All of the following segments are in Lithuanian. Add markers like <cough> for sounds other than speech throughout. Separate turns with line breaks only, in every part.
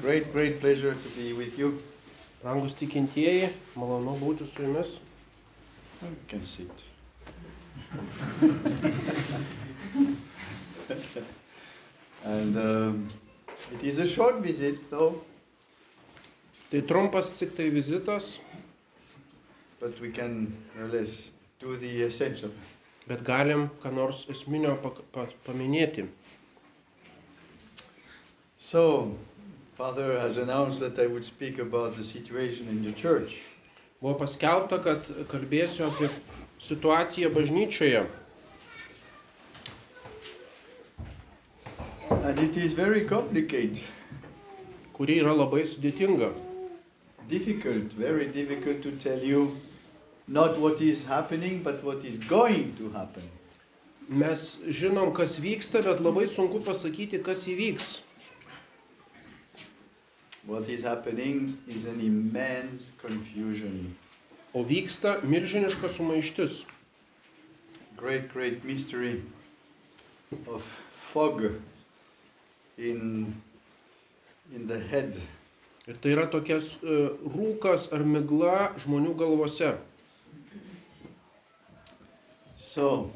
Great, great pleasure to be with you.
Rangus tikintieji, malonu būti su jumis.
You can sit. <laughs> and um, it is a short visit, though,
Tai trumpas tik tai vizitas,
but we can nevertheless do the essential.
bet galim ką nors esminio pak- pa- paminėti.
So, Father has announced that I would speak about the situation in the church.
Buvo paskelbta, kad kalbėsiu apie situaciją bažnyčioje.
And it is very complicated,
kuri yra labai sudėtinga.
difficult, very difficult to tell you not what is happening, but what is going to happen.
Mes žinom, kas vyksta, bet labai sunku pasakyti, kas įvyks.
What is happening is an immense confusion,
O vyksta milžiniška sumaištis,
great, great mystery of fog in, in the head.
Ir tai yra tokias rūkas ar migla žmonių galvose.
So,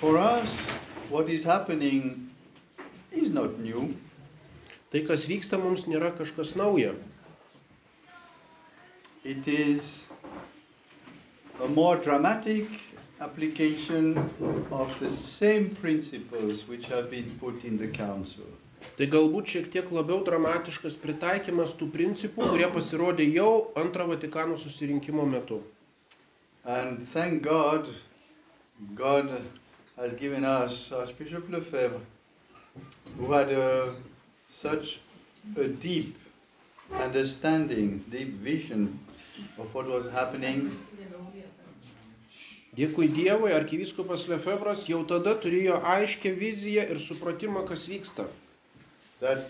for us, what is happening is not new.
Tai, kas vyksta, mums nėra kažkas nauja.
It is a more dramatic application of the same principles which have been put in the Council.
Tai galbūt šiek tiek labiau dramatiškas pritaikymas tų principų, kurie pasirodė jau antrą Vatikano susirinkimo metu.
And thank God, God has given us Archbishop Lefebvre, who had a, such a deep understanding, deep vision of what was happening.
Dėkui Dievui, arkivyskupas Lefebvras jau tada turėjo aiškę viziją ir supratimą, kas vyksta.
that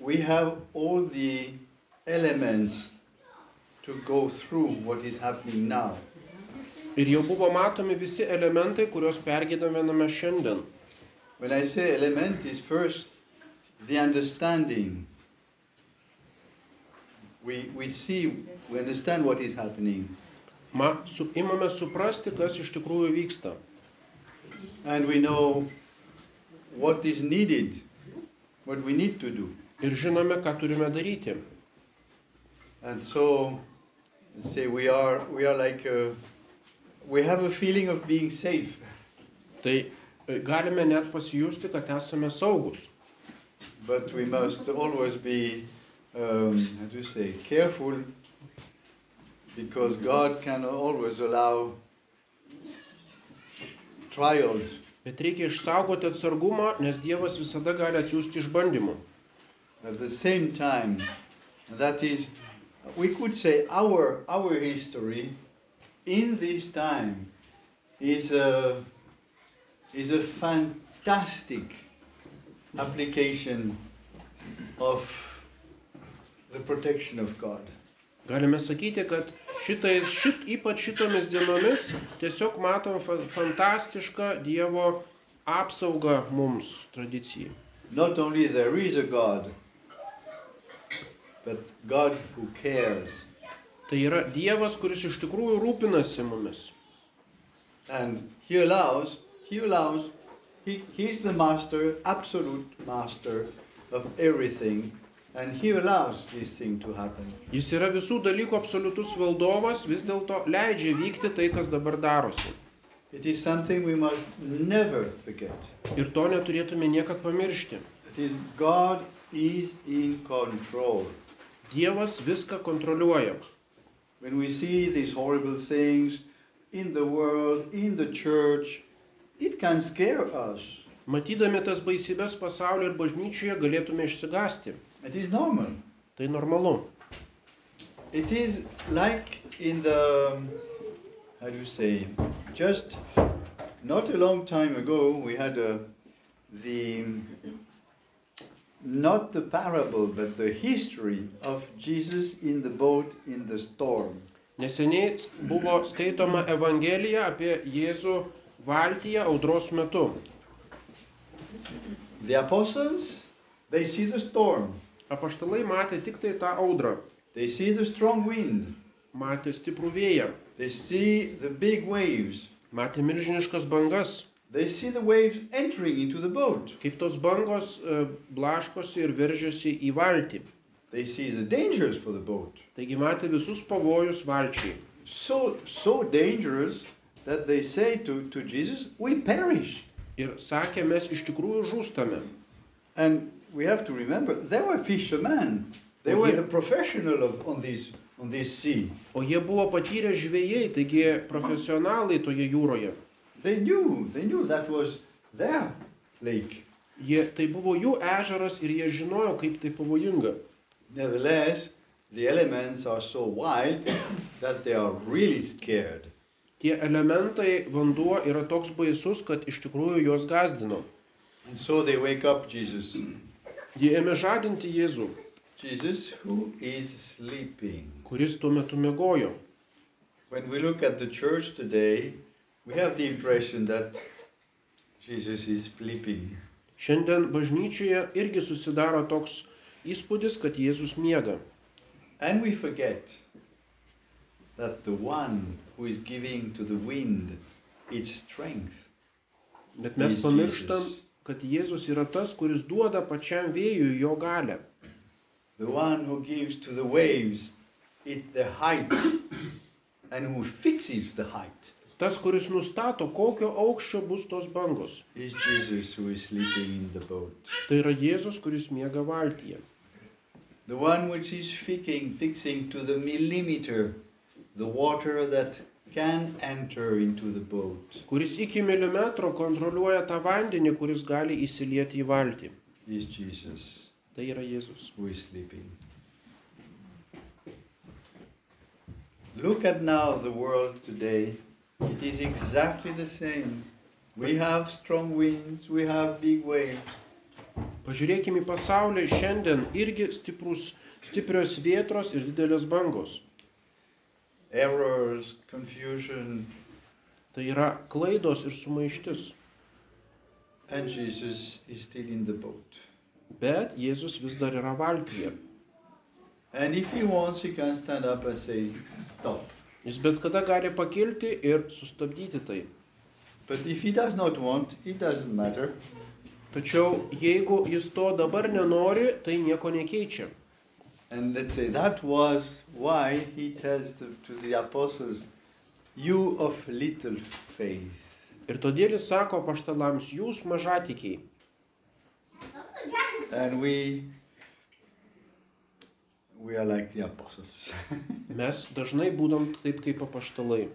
we have all the elements to go through what is happening now.
Ir jau buvo matomi visi elementai, kuriuos pergydaminame šiandien.
When I say element is first the understanding. We, we see, we understand what is happening,
Ma, su, imame suprasti, kas iš tikrųjų vyksta.
and we know what is needed, what we need to do.
Ir žinome, ką turime daryti.
And so, let's say we are, we are like, a, we have a feeling of being safe.
Tai e, galime net pasijusti, kad esame saugus.
But we must always be, um, how do you say, careful, because God can always allow trials.
Bet reikia išsaugoti atsargumą, nes Dievas visada gali atsiųsti išbandymų.
At the same time, that is, we could say our our history in this time is a is a fantastic application of the protection of God.
Galime sakyti, kad šitais, šit, ypač šitomis dienomis tiesiog matom fa fantastišką Dievo apsaugą mums tradicijai.
Not only there is a God, but God who cares.
Tai yra Dievas, kuris iš tikrųjų rūpinasi mumis.
And He allows, He allows, he, He's the master, absolute master of everything, and He allows this thing to happen.
Jis yra visų dalykų absoliutus valdovas, vis dėlto leidžia vykti tai, kas dabar darosi.
It is something we must never forget.
Ir to neturėtume niekad pamiršti.
It is God is in control.
Dievas viską kontroliuoja.
When we see these horrible things in the world, in the church, it can scare us.
Matydami tas baisybės pasaulio ir bažnyčioje galėtume išsigasti.
It is normal.
Tai normalu.
It is like in the um, how do you say? Just not a long time ago, we had a, the not the parable, but the history of Jesus in the boat in the storm.
Neseniai buvo skaitoma Evangelija apie Jėzų valtyje audros metu.
The apostles, they see the storm,
Apaštalai matė tik tai tą audrą,
they see the strong wind,
matė stiprų vėją,
they see the big waves,
matė milžiniškas bangas,
they see the waves entering into the boat,
kaip tos bangos e, blaškosi ir veržiasi į valtį.
they see the dangers for the boat.
Taigi matė visus pavojus valčiai.
So, so dangerous that they say to, to Jesus, We perish.
Ir sakė, mes iš tikrųjų žūstame.
And we have to remember, they were fishermen, they were the professional of, on, this, on this sea.
O jie buvo patyrę žvėjai, taigi profesionalai toje jūroje.
They knew, they knew that was their lake.
Jie, tai buvo jų ežeras ir jie žinojo, kaip tai pavojinga.
Nevertheless, the elements are so wild <coughs> that they are really scared.
Tie elementai, vanduo yra toks baisus, kad iš tikrųjų juos gazdino.
And so they wake up Jesus.
Jie ėmė žadinti Jėzų,
Jesus, who is sleeping.
kuris tuo metu mėgojo.
When we look at the church today, we have the impression that Jesus is sleeping.
Šiandien bažnyčioje irgi susidaro toks įspūdis, kad Jėzus miega.
And we forget that the one who is giving to the wind its strength
Bet mes
is
pamirštam,
Jesus.
kad Jėzus yra tas, kuris duoda pačiam vėjui jo galę.
the one who gives to the waves its the height <coughs> and who fixes the height
Tas, kuris nustato, kokio aukščio bus tos bangos.
is Jesus who is sleeping in the boat.
Tai yra Jėzus, kuris miega valtyje.
The one which is fixing, fixing to the millimeter the water that can enter into the boat
Kuris iki milimetro kontroliuoja tą vandenį, kuris gali įsilieti į valtį.
is Jesus
Tai yra Jėzus.
who is sleeping. Look at now the world today. It is exactly the same. We have strong winds, we have big waves,
Pažiūrėkime į pasaulį. Šiandien irgi stiprus, stiprios vėtros ir didelės bangos.
errors, confusion,
Tai yra klaidos ir sumaištis.
and Jesus is still in the boat.
Bet Jėzus vis dar yra valtyje.
And if he wants, he can stand up and say, Stop.
Jis bet kada gali pakilti ir sustabdyti tai.
But if he does not want, it doesn't matter.
Tačiau jeigu jis to dabar nenori, tai nieko nekeičia.
And let's say that was why he tells the, to the apostles, You of little faith.
Ir todėl jis sako paštalams, jūs mažatikiai.
And we, we are like the apostles. <laughs>
Mes dažnai būdam taip kaip paštalai.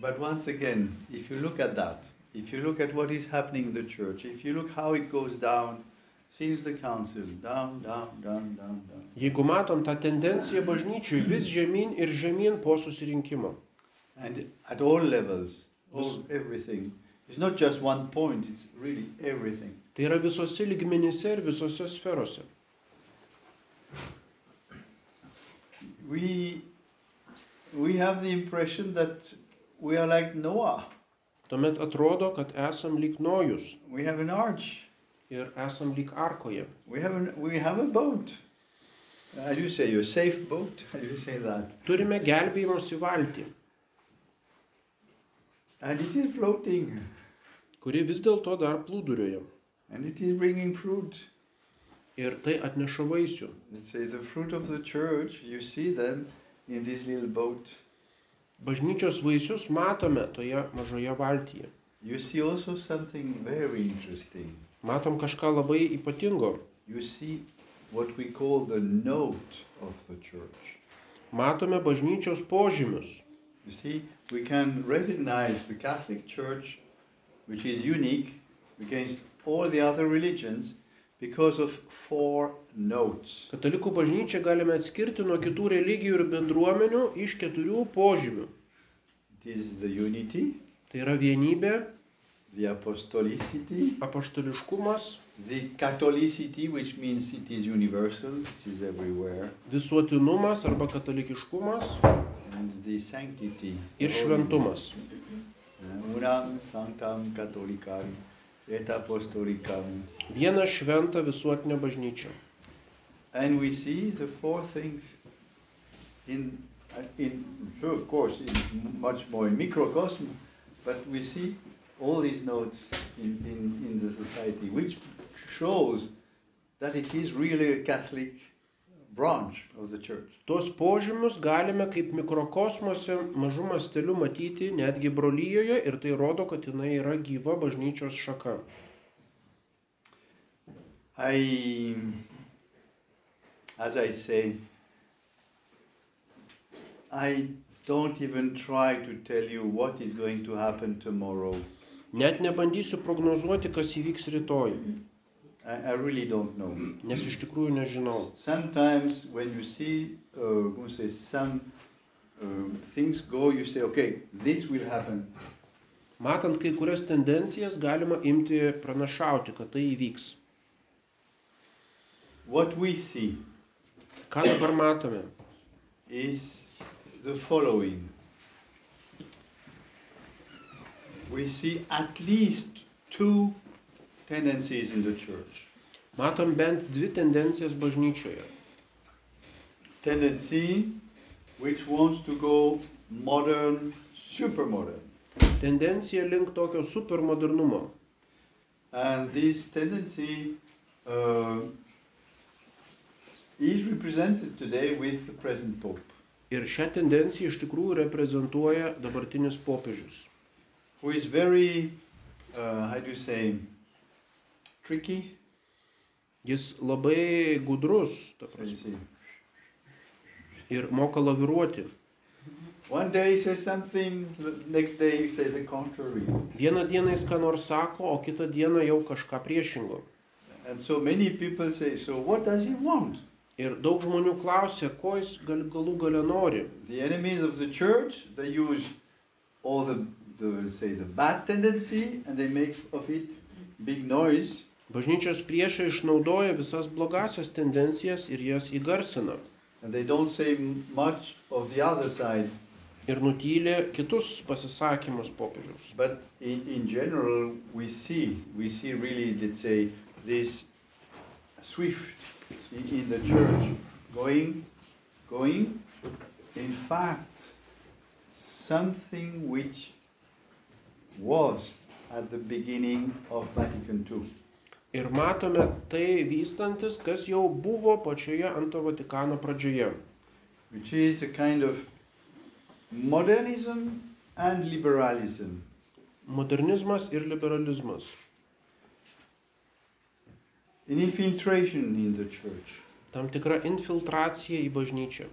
but once again, if you look at that, if you look at what is happening in the church, if you look how it goes down since the council, down, down, down, down, down.
Jeigu matom tą tendenciją bažnyčiui vis žemyn ir žemyn po susirinkimo.
And at all levels, all
This-
everything. It's not just one point, it's really everything.
Tai yra visose ligmenyse ir visose sferose.
We we have the impression that we are like Noah.
Tuomet atrodo, kad esam lyg nojus
We have an arch.
ir esam lyg arkoje.
We have an, we have a boat. How do you say a safe boat? How do you say that?
Turime gelbėjimosi valtį,
And it is floating
kuri vis dėlto dar plūduriuoja.
and it is bringing fruit.
Ir tai atneša vaisių.
Let's say the fruit of the church, you see them in this little boat.
Bažnyčios vaisius matome toje mažoje valtyje.
You see also something very interesting.
Matom kažką labai ypatingo.
you see what we call the note of the church.
Matome bažnyčios požymius.
You see, we can recognize the Catholic Church, which is unique against all the other religions, because of four notes.
Katalikų bažnyčią galime atskirti nuo kitų religijų ir bendruomenių iš keturių požymių.
It is the unity,
Tai yra vienybė,
the apostolicity,
apaštališkumas,
the Catholicity, which means it is universal, it is everywhere,
visuotinumas arba katalikiškumas
and the sanctity.
ir šventumas.
Unam sanctam catholicam et apostolicam.
Vieną šventą visuotinę bažnyčią.
And we see the four things in, uh, in sure, of course, in much more in microcosm, but we see all these notes in, in, in the society, which shows that it is really a Catholic branch of the church.
Tuos požymius galime kaip mikrokosmose mažų mastelių matyti netgi brolyjoje ir tai rodo, kad jinai yra gyva bažnyčios šaka.
I, as I say, I don't even try to tell you what is going to happen tomorrow.
Net nebandysiu prognozuoti, kas įvyks rytoj,
I, I really don't know.
nes iš tikrųjų nežinau.
Sometimes when you see, uh, who says some um, things go, you say, okay, this will happen.
Matant kai kurias tendencijas, galima imti pranašauti, kad tai įvyks.
What we see
Ką dabar matome?
is the following. We see at least two tendencies in the church.
Matom bent dvi tendencijas bažnyčioje.
Tendency which wants to go modern, super modern.
Tendencija link tokio supermodernumo.
And this tendency uh, is represented today with the present Pope,
Ir šią tendenciją iš tikrųjų reprezentuoja dabartinis popiežius.
who is very, uh, how do you say, tricky?
Jis labai gudrus ta
So you
prasme,
see.
ir moka laviruoti.
One day he says something, the next day he says the contrary.
Vieną dieną jis ką nors sako, o kitą dieną jau kažką priešingo.
And so many people say, so what does he want?
Ir daug žmonių klausia, ko jis gal, galų gale nori.
The enemies of the church, they use all the, the let's say, the bad tendency and they make of it big noise.
Bažnyčios priešai išnaudoja visas blogasias tendencijas ir jas įgarsina.
And they don't say m- much of the other side,
Ir nutylė kitus pasisakymus popiežiaus.
but in, in general, we see, we see really, let's say, this swift i- in the church going, going. In fact, something which was at the beginning of Vatican II.
Ir matome tai vystantis, kas jau buvo pačioje Anto Vatikano pradžioje.
which is a kind of modernism and liberalism.
Modernizmas ir liberalizmas.
An infiltration in the church.
Tam tikra infiltracija į bažnyčią.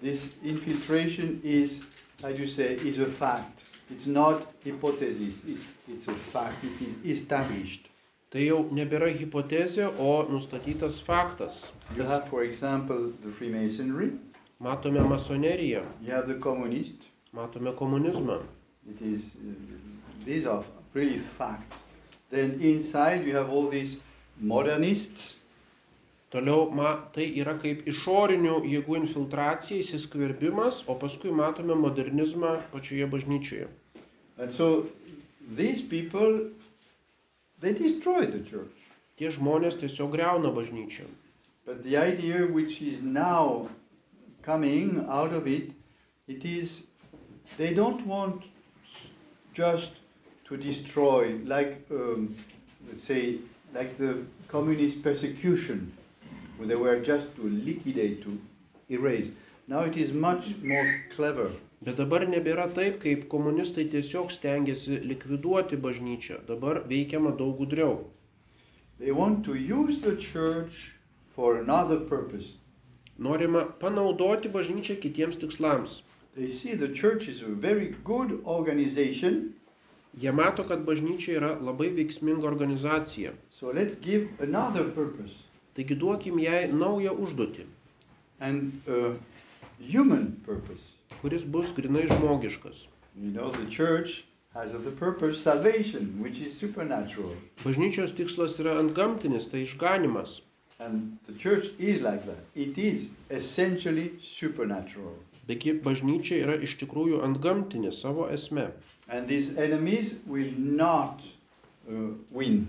This infiltration is, as you say, is a fact. It's not hypothesis. It's, it's a fact. It is established.
Tai jau nebėra hipotezė, o nustatytas faktas.
You
Tas
have, for example, the Freemasonry.
matome masoneriją,
You have the communist.
matome komunizmą.
It is. uh, these are really facts. Then inside you have all these modernists.
Toliau ma, tai yra kaip išorinių jėgų infiltracija, įsiskverbimas, o paskui matome modernizmą pačioje bažnyčioje.
And so these people, they destroy the church.
Tie žmonės tiesiog greuna bažnyčią.
But the idea which is now coming out of it, it is they don't want just to destroy, like um, let's say, like the communist persecution, where they were just to liquidate, to erase. Now it is much more clever.
Bet dabar nebėra taip, kaip komunistai tiesiog stengiasi likviduoti bažnyčią. Dabar veikiama daug gudriau.
They want to use the church for another purpose.
Norima panaudoti bažnyčią kitiems tikslams.
They see the church is a very good organization,
Jie mato, kad bažnyčia yra labai veiksminga organizacija.
so let's give another purpose.
Taigi duokim jai naują užduotį,
and a human purpose.
kuris bus grinai žmogiškas.
You know, the church has the purpose salvation, which is supernatural,
Bažnyčios tikslas yra antgamtinis, tai išganimas.
and the church is like that. It is essentially supernatural.
Taigi bažnyčia yra iš tikrųjų antgamtinė savo esme.
And these enemies will not uh, win.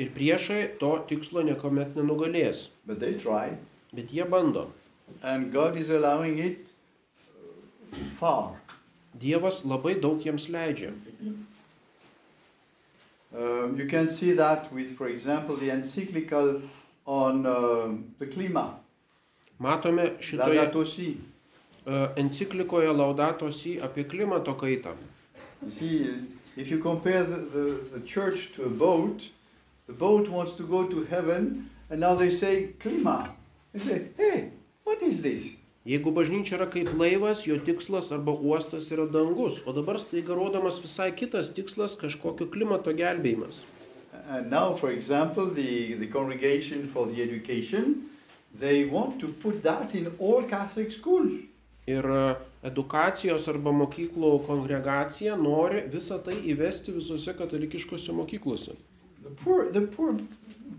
Ir priešai to tikslo niekuomet nenugalės.
But they try,
Bet jie bando.
and God is allowing it uh, far.
Dievas labai daug jiems leidžia.
Uh, you can see that with, for example, the encyclical on uh, the climat,
Matome
La
šitoje
Date aussi.
e, enciklikoje Laudatosi apie klimato kaitą.
You see, if you compare the, the, the church to a boat, the boat wants to go to heaven, and now they say climat. They say, hey, what is this?
Jeigu bažnyčia yra kaip laivas, jo tikslas arba uostas yra dangus, o dabar staiga rodomas visai kitas tikslas - kažkokio klimato gelbėjimas.
Uh, And now, for example, the, the Congregation for the Education, they want to put that in all Catholic schools.
Ir e, edukacijos arba mokyklų kongregacija nori visą tai įvesti visose katalikiškose mokyklose.
The poor, the poor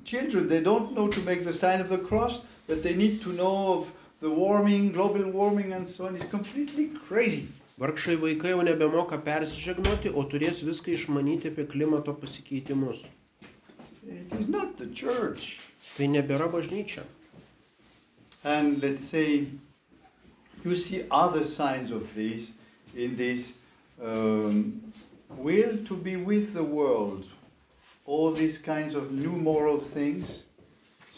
children, they don't know to make the sign of the cross, but they need to know of the warming, global warming, and so on. It's completely crazy.
Vargšai vaikai jau nebemoka persižegnoti, o turės viską išmanyti apie klimato pasikeitimus.
It is not the church.
Tai nebėra bažnyčia.
And let's say you see other signs of this in this um, will to be with the world, all these kinds of new moral things.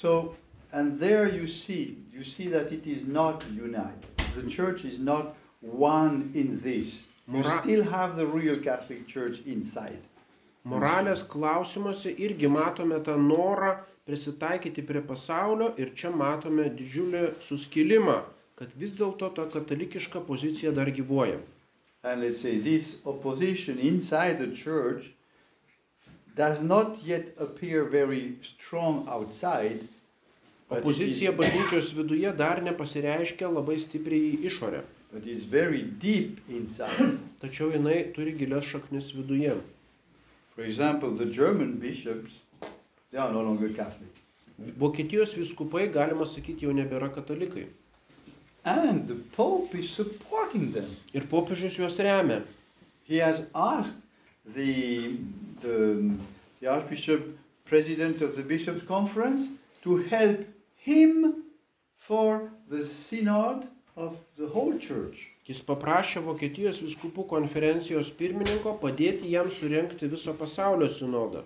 So, and there you see, you see that it is not united. The church is not one in this. You
Mora-
still have the real Catholic Church inside.
Moralės klausimuose irgi matome tą norą prisitaikyti prie pasaulio ir čia matome didžiulį suskilimą, kad vis dėlto ta katalikiška pozicija dar gyvuoja.
and let's say this opposition inside the church does not yet appear very strong outside. but it
Opozicija
is-
bažnyčios viduje dar nepasireiškia labai stipriai į išorę,
but is very deep inside.
tačiau jinai turi gilias šaknis viduje.
For example, the German bishops, they are no longer Catholic.
Vokietijos viskupai, galima sakyti, jau nebėra katalikai.
And the Pope is supporting them.
Ir popiežius juos remia.
He has asked the, the, the Archbishop, president of the Bishops' Conference, to help him for the synod of the whole church.
Jis paprašė Vokietijos viskupų konferencijos pirmininko padėti jam surenkti viso pasaulio sinodą.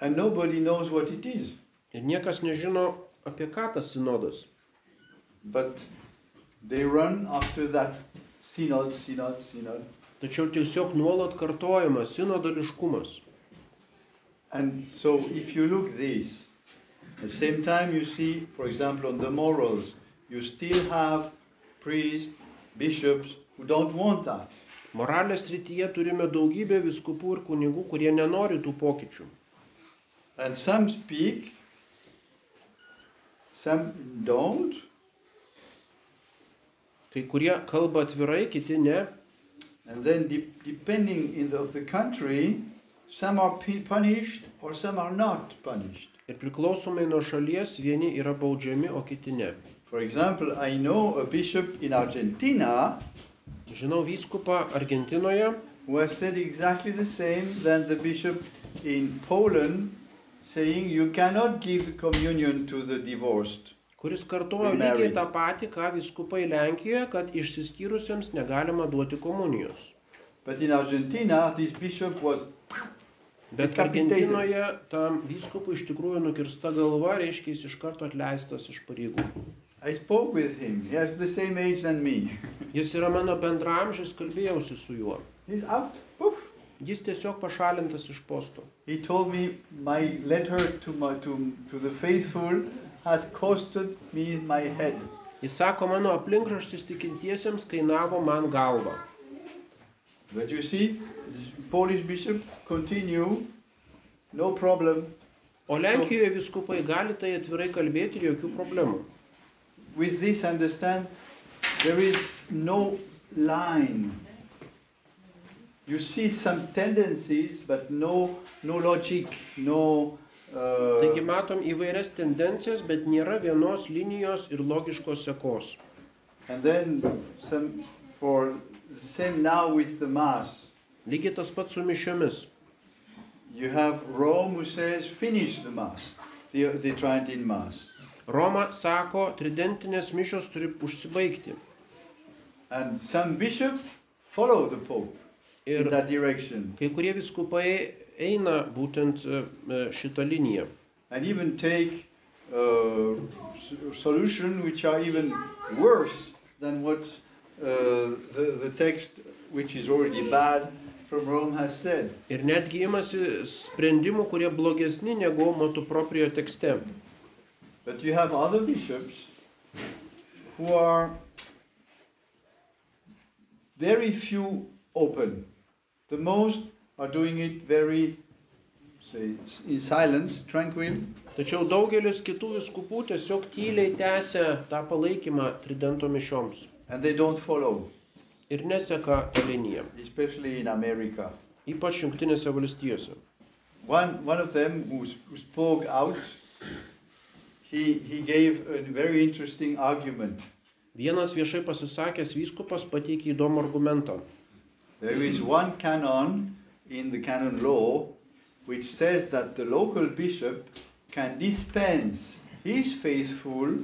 And nobody knows what it is.
Ir niekas nežino, apie ką tas sinodas.
But they run after that synod, synod, synod.
Tačiau tiesiog nuolat kartojamas sinodališkumas.
And so if you look this, at the same time you see, for example, on the morals, you still have priests, bishops who don't want that.
Moralės rytyje turime daugybę viskupų ir kunigų, kurie nenori tų pokyčių.
And some speak, some don't,
Kai kurie kalba atvirai, kiti ne.
and then de- depending in the, of the country, some are p- punished or some are not punished.
Ir priklausomai nuo šalies vieni yra baudžiami, o kiti ne.
For example, I know a bishop in Argentina
Žinau vyskupą Argentinoje,
who has said exactly the same than the bishop in Poland saying you cannot give the communion to the divorced.
kuris kartojo lygiai tą patį, ką viskupai Lenkijoje, kad išsiskyrusiems negalima duoti komunijos.
But in Argentina, this bishop was
Bet Argentinoje tam vyskupui iš tikrųjų nukirsta galva, reiškia jis iš karto atleistas iš pareigų.
I spoke with him. He has the same age than me. <laughs>
Jis yra mano bendramžis, kalbėjausi su juo.
He's out. Poof.
Jis tiesiog pašalintas iš posto.
He told me my letter to my to, to the faithful has costed me my head.
Jis sako, mano aplinkraštis tikintiesiems kainavo man galvą.
But you see, this Polish bishop continue, no problem.
O Lenkijoje viskupai gali tai atvirai kalbėti ir jokių problemų.
With this, understand there is no line. You see some tendencies, but no, no logic, no. Uh,
Taigi matom įvairias tendencijas, bet nėra vienos linijos ir logiškos sekos.
and then some for the same now with the mass.
Lygiai tas pats su mišiomis.
You have Rome who says, finish the Mass, the, the Tridentine Mass.
Roma sako, tridentinės mišios turi užsibaigti.
And some bishops follow the Pope in
Ir
that direction
kai kurie viskupai eina būtent e, e, šitą liniją.
and even take uh, solutions which are even worse than what uh, the, the text, which is already bad, from Rome has said.
Ir netgi imasi sprendimų, kurie blogesni negu matu proprio tekste.
But you have other bishops who are very few open. The most are doing it very, say, in silence, tranquil.
Tačiau daugelis kitų viskupų tiesiog tyliai tęsia tą palaikymą tridento mišioms
and they don't follow,
ir neseka tą liniją,
especially in America.
ypač Junktinėse valstijose.
One, one of them who, s- who spoke out, he, he gave a very interesting argument.
Vienas viešai pasisakęs vyskupas pateikė įdomų argumentą.
There is one canon in the canon law which says that the local bishop can dispense his faithful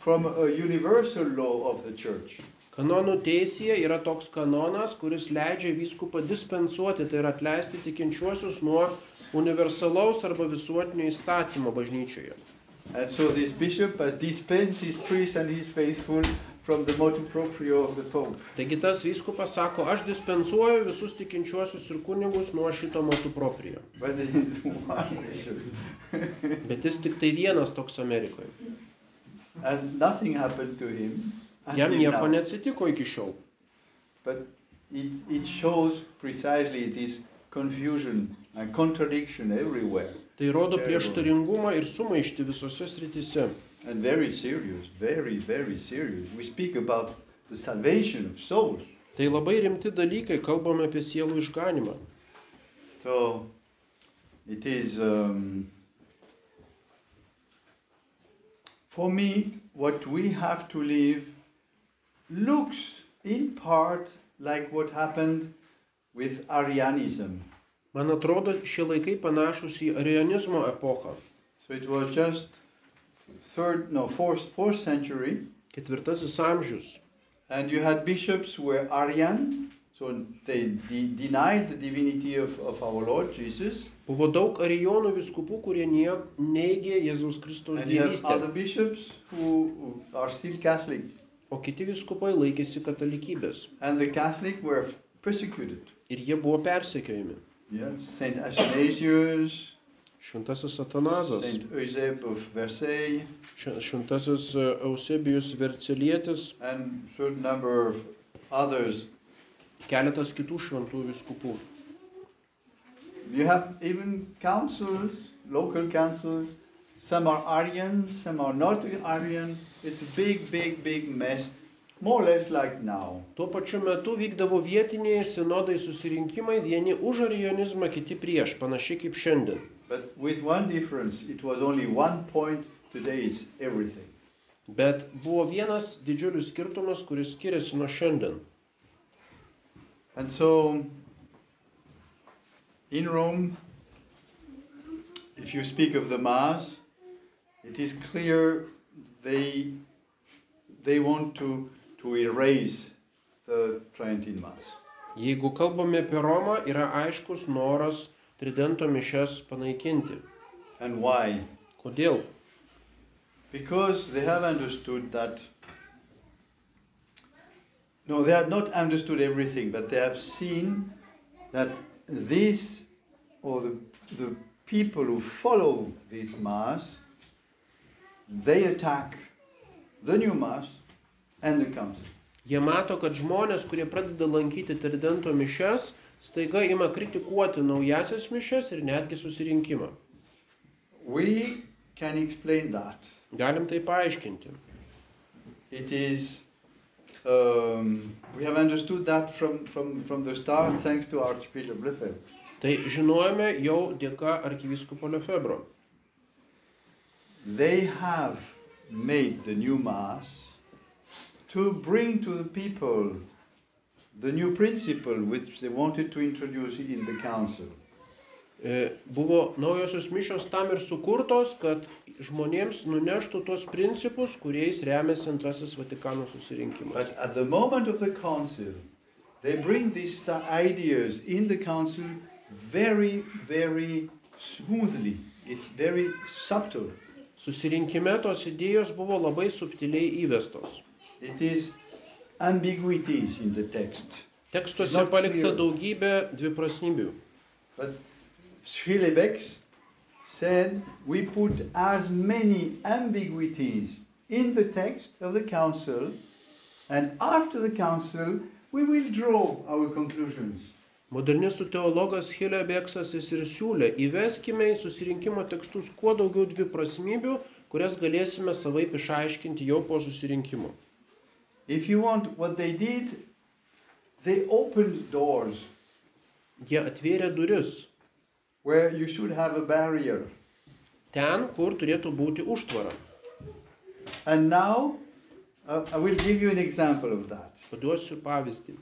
from a universal law of the church.
Kanonų teisėje yra toks kanonas, kuris leidžia vyskupą dispensuoti, tai yra atleisti tikinčiuosius nuo universalaus arba visuotinio įstatymo bažnyčioje.
And so this bishop has dispensed his priest and his faithful from the motu proprio of the Pope.
Taigi tas vyskupas sako, aš dispensuoju visus tikinčiuosius ir kunigus nuo šito motų proprio.
But there is <laughs> one bishop.
Bet jis tik tai vienas toks Amerikoje.
and nothing happened to him.
Jam
until
nieko
now.
neatsitiko iki šiol.
But it, it shows precisely this confusion and contradiction everywhere,
Tai rodo prieštaringumą ir sumaišti visose srityse.
and very serious, very, very serious. We speak about the salvation of souls.
Tai labai rimti dalykai, kalbame apie sielų išganimą.
So it is, um, for me, what we have to live looks in part like what happened with Arianism.
Man atrodo, šie laikai panašus į arionizmo epochą.
So it was just third, no, fourth, fourth century,
Ketvirtasis amžius.
and you had bishops who were Arian, so they de- denied the divinity of, of our Lord Jesus,
Buvo daug arijonų viskupų, kurie nie, neigė Jėzaus Kristaus
and you have other
dievystę,
bishops who who are still Catholic,
o kiti viskupai laikėsi katalikybės
and the Catholic were persecuted.
ir jie buvo persekiojami.
Yes, Saint Athanasius,
Šventasis Atanazas,
Saint Eusebe of Versailles,
šven- šventasis e, Eusebijus Vercelietis,
and certain number of others.
keletas kitų šventų viskupų.
You have even councils, local councils. Some are Aryan, some are not Aryan. It's a big, big, big mess, more or less like now.
Tuo pačiu metu vykdavo vietiniai sinodai susirinkimai, vieni už arionizmą, kiti prieš, panašiai kaip šiandien.
But with one difference, it was only one point. Today it's everything.
Bet buvo vienas didžiulis skirtumas, kuris skiriasi nuo šiandien.
And so, in Rome, if you speak of the Mass, it is clear they, they want to, to erase the Tridentine Mass.
Jeigu kalbame apie Romą, yra aiškus noras tridento mišes panaikinti.
And why?
Kodėl?
Because they have understood that. No, they have not understood everything, but they have seen that this, or the, the people who follow this Mass, they attack the new Mass and the Council.
Jie mato, kad žmonės, kurie pradeda lankyti tridento mišes, staiga ima kritikuoti naujasias mišes ir netgi susirinkimą.
We can explain that.
Galim tai paaiškinti.
It is. Um, we have understood that from, from, from the start, thanks to Archbishop Lefebvre.
Tai žinojome jau dėka arkivyskupo Lefebro.
they have made the new mass to bring to the people the new principle which they wanted to introduce in the council.
E, Buvo naujosios mišios tam ir sukurtos, kad žmonėms nuneštų tos principus, kuriais remiasi antrasis Vatikano susirinkimas.
But at the moment of the council, they bring these uh, ideas in the council very, very smoothly. It's very subtle.
Susirinkime tos idėjos buvo labai subtiliai įvestos.
It is ambiguities in the text.
Tekstuose
Not
palikta
clear.
daugybė dviprasmybių.
But Schillebex said we put as many ambiguities in the text of the council, and after the council, we will draw our conclusions.
Modernistų teologas Hilė Beksasas ir siūlė, įveskime į susirinkimo tekstus kuo daugiau dviprasmybių, kurias galėsime savaip išaiškinti jau po susirinkimo.
If you want, what they did, they opened doors
Jie atvėrė duris
where you should have a barrier.
ten, kur turėtų būti užtvara.
And now, uh, I will give you an example of that.
Paduosiu pavyzdį.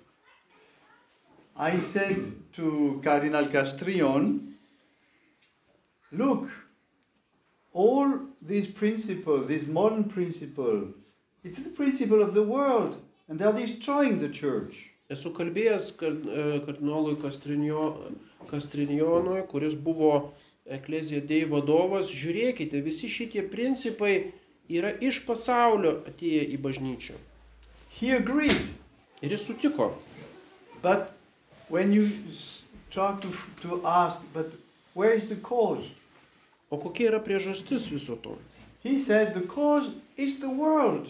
I said to Cardinal Castrion, look, all these principles, these modern principles, it's the principle of the world, and they are destroying the church.
Esu kalbėjęs kard- e, kardinolui Kastrinio- Kastrinjonui, kuris buvo Eklezija Dei vadovas, žiūrėkite, visi šitie principai yra iš pasaulio atėję į bažnyčią.
He agreed,
Ir jis sutiko.
but when you s- try to, to ask, but where is the cause?
O kokia yra priežastis viso to?
He said, the cause is the world.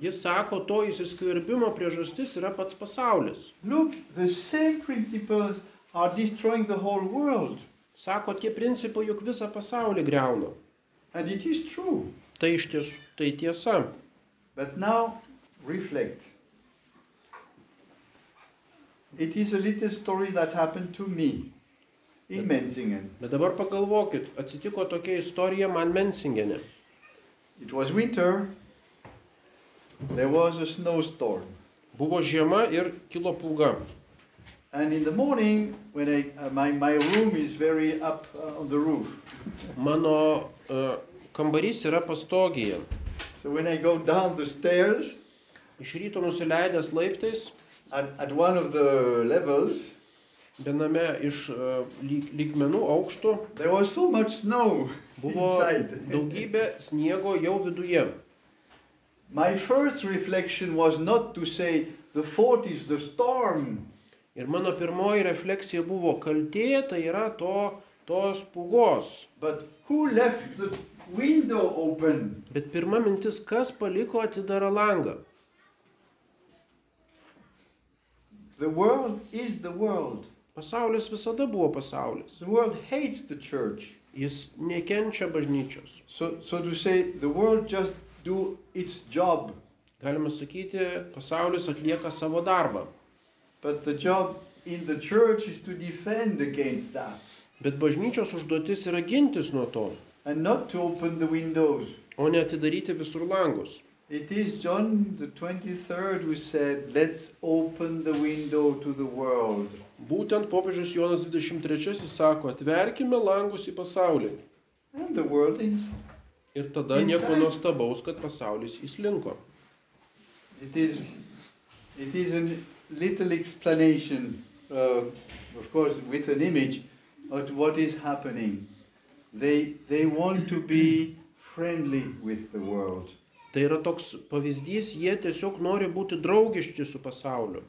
Jis sako, to įsiskverbimo priežastis yra pats pasaulis.
Look, the same principles are destroying the whole world.
Sako, tie principai juk visą pasaulį greuna.
And it is true.
Tai iš tiesų, tai tiesa.
But now reflect. It is a little story that happened to me in Menzingen.
Bet dabar pagalvokit, atsitiko tokia istorija man Mensingene.
It was winter. There was a snowstorm.
Buvo žiema ir kilo pūga.
And in the morning, when I, uh, my, my room is very up uh, on the roof.
Mano uh, kambarys yra pastogėje.
So when I go down the stairs
Iš ryto nusileidęs laiptais,
at, at one of the levels,
viename iš uh, lyg, lygmenų aukštų,
there was so much snow
buvo
inside.
daugybė sniego jau viduje.
<laughs> my first reflection was not to say, the fault is the storm.
Ir mano pirmoji refleksija buvo kaltė, tai yra to, tos pūgos.
But who left the window open?
Bet pirma mintis, kas paliko atidarą langą?
The world is the world.
Pasaulis visada buvo pasaulis.
The world hates the church.
Jis nekenčia bažnyčios.
So, so to say, the world just do its job,
Galima sakyti, pasaulis atlieka savo darbą.
but the job in the church is to defend against that
Bet bažnyčios užduotis yra gintis nuo to,
and not to open the windows.
o ne atidaryti visur langus.
It is John the 23rd who said, let's open the window to the world.
Būtent popiežius Jonas 23 sako, atverkime langus į pasaulį.
And the world is.
Ir tada nieko nuostabaus, kad pasaulis įslinko.
It is, it is a little explanation, uh, of course, with an image, of what is happening. They, they want to be friendly with the world.
Tai yra toks pavyzdys, jie tiesiog nori būti draugiški su pasauliu.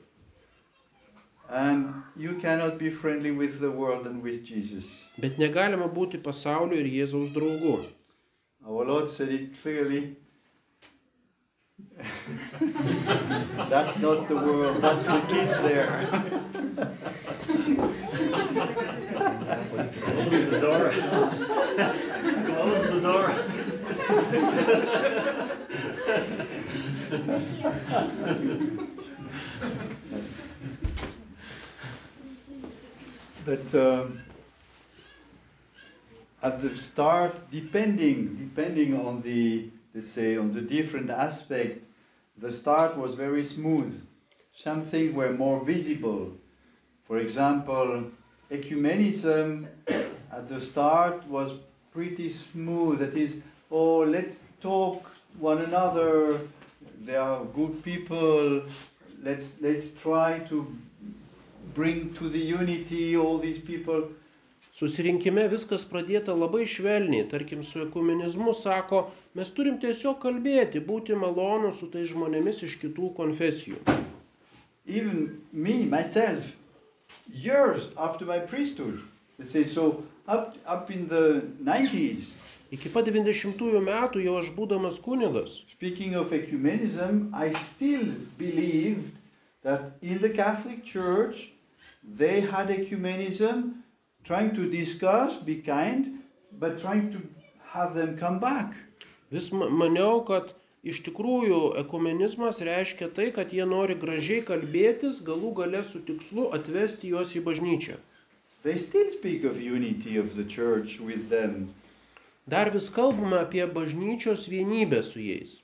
And you cannot be friendly with the world and with Jesus.
Bet negalima būti pasaulio ir Jėzaus draugu.
Our Lord said it clearly. <laughs> that's not the world, that's the kids there.
Open the door. Close the door.
But um, at the start, depending depending on the let's say on the different aspect, the start was very smooth. Some things were more visible. For example, ecumenism at the start was pretty smooth. That is, oh, let's talk one another. They are good people. Let's let's try to bring to the unity all these people.
Susirinkime viskas pradėta labai švelniai, tarkim su ekumenizmu sako, mes turim tiesiog kalbėti, būti malonu su tais žmonėmis iš kitų konfesijų.
Even me myself, years after my priesthood, let's say so, up up in the 90s.
Iki pat 90-ųjų metų jau aš būdamas kunigas,
Speaking of ecumenism, I still believed that in the Catholic Church they had ecumenism, trying to discuss, be kind, but trying to have them come back.
vis ma- maniau, kad iš tikrųjų ekumenizmas reiškia tai, kad jie nori gražiai kalbėtis, galų gale su tikslu atvesti juos į bažnyčią.
They still speak of unity of the church with them.
Dar vis kalbame apie bažnyčios vienybę su jais.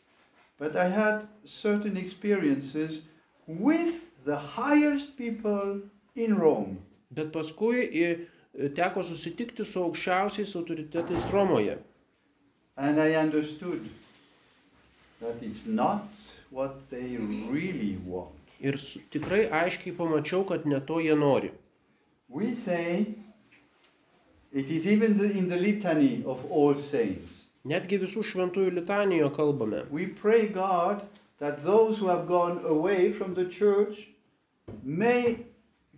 But I had certain experiences with the highest people in Rome.
Bet paskui i- teko susitikti su aukščiausiais autoritetais Romoje.
And I understood that it's not what they really want.
Ir su- tikrai aiškiai pamačiau, kad ne to jie nori.
We say it is even the, in the litany of all saints.
Netgi visų šventųjų litanijo kalbame.
We pray God that those who have gone away from the church may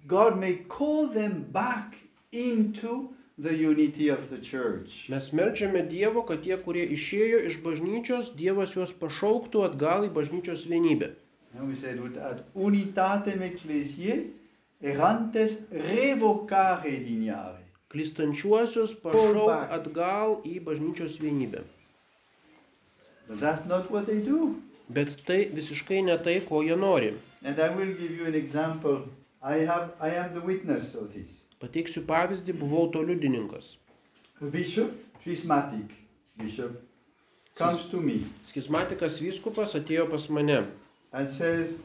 God may call them back into the unity of the church.
Mes melčiame Dievo, kad tie, kurie išėjo iš bažnyčios, Dievas juos pašauktų atgal į bažnyčios vienybę.
And we said with ad unitatem ecclesiae errantes revocare dignare.
Klistančiuosius pašauk atgal į bažnyčios vienybę.
But that's not what they do.
Bet tai visiškai ne tai, ko jie nori.
And I will give you an example. I have I am the witness of this.
Pateiksiu pavyzdį, buvau to liudininkas.
A bishop, schismatic bishop, comes to me
Skizmatikas vyskupas atėjo pas mane
and says,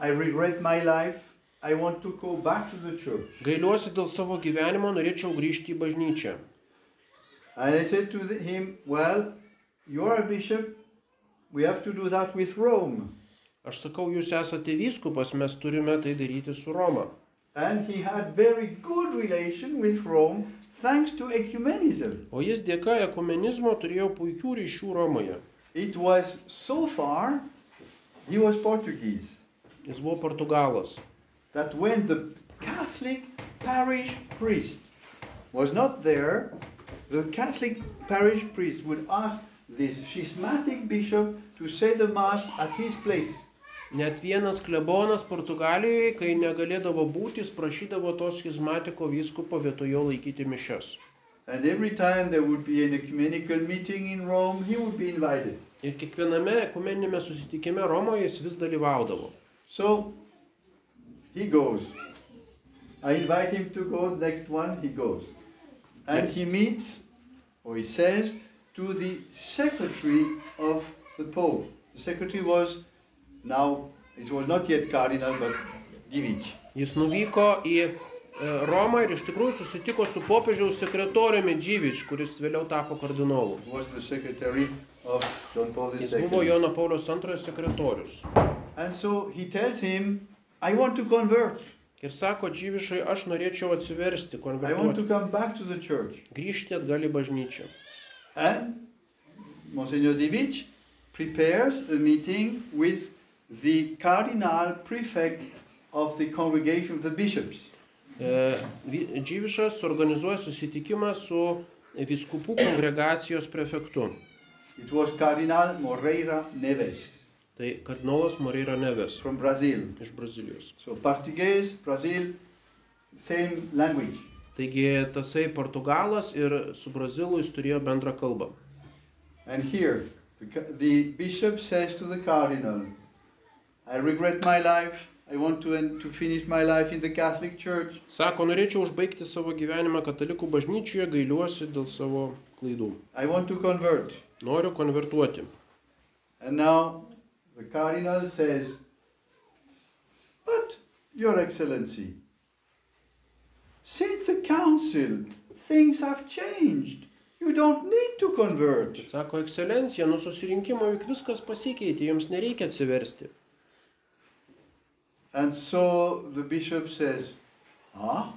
I regret my life. I want to go back to the church.
Gailiuosi dėl savo gyvenimo, norėčiau grįžti į bažnyčią.
And I said to the- him, Well, you are a bishop. We have to do that with Rome.
Aš sakau, jūs esate vyskupas, mes turime tai daryti su Roma.
And he had very good relation with Rome thanks to ecumenism.
O jis dėka ekumenizmo turėjo puikių ryšių Romoje.
It was so far, he was Portuguese,
Jis buvo portugalas.
that when the Catholic parish priest was not there, the Catholic parish priest would ask this schismatic bishop to say the mass at his place.
Net vienas klebonas Portugalijoje, kai negalėdavo būti, jis prašydavo tos schizmatiko vyskupo vietojo laikyti mišes.
And every time there would be an ecumenical meeting in Rome, he would be invited.
Ir kiekviename ekumeninėme susitikime Romoje jis vis dalyvaudavo.
So he goes. I invite him to go, next one, he goes. And he meets, or he says, to the secretary of the Pope. The secretary was now, it was not yet cardinal, but Divic.
Jis nuvyko į e, Romą ir iš tikrųjų susitiko su popiežiaus sekretoriumi Džyvič, kuris vėliau tapo kardinolu.
who was the secretary of John Paul
Jis buvo
II.
Jono Paulius II sekretorius.
And so he tells him, I want to convert.
Ir sako Džyvišai, aš norėčiau atsiversti,
I want to
konvertuoti,
come back to the church.
grįžti atgal į bažnyčią.
And Monsignor Divic prepares a meeting with the cardinal prefect of the congregation of the bishops.
E, vi- Džyvišas organizuoja susitikimą su viskupų kongregacijos prefektu.
It was Cardinal Moreira Neves
Tai kardinolas Moreira Neves
from Brazil.
iš Brazilijos.
So Portuguese, Brazil, same language.
Taigi tasai portugalas ir su brazilu jis turėjo bendrą kalbą.
And here, the, ca- the bishop says to the cardinal, I regret my life. I want to, end, to finish my life in the Catholic Church.
Sako, norėčiau užbaigti savo gyvenimą katalikų bažnyčioje, gailiuosi dėl savo klaidų.
I want to convert.
Noriu konvertuoti.
And now the cardinal says, But, Your Excellency, Since the council, things have changed. You don't need to convert.
Bet sako, ekscelencija, nuo susirinkimo juk viskas pasikeitė, jums nereikia atsiversti.
And so the bishop says, Huh?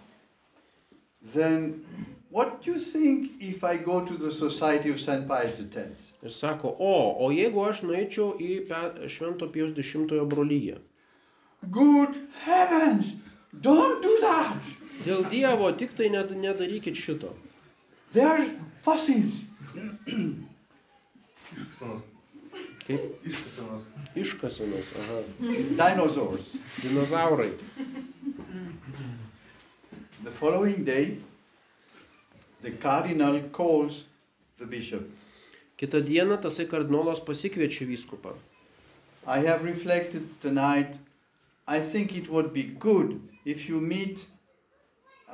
Then what do you think if I go to the Society of St. Pius X?
Ir sako, o, o jeigu aš nueičiau į Pe- Švento Pijaus X brolyje.
Good heavens! Don't do that!
Dėl Dievo tik tai ned- nedarykit šito.
They are fossils.
Ksenos.
Kaip
Ksenos.
iškasenos, aha,
Dinosaurs.
dinozaurai.
The following day, the cardinal calls the bishop.
Kita diena tasai kardinolas pasikviečia vyskupą.
I have reflected tonight. I think it would be good if you meet,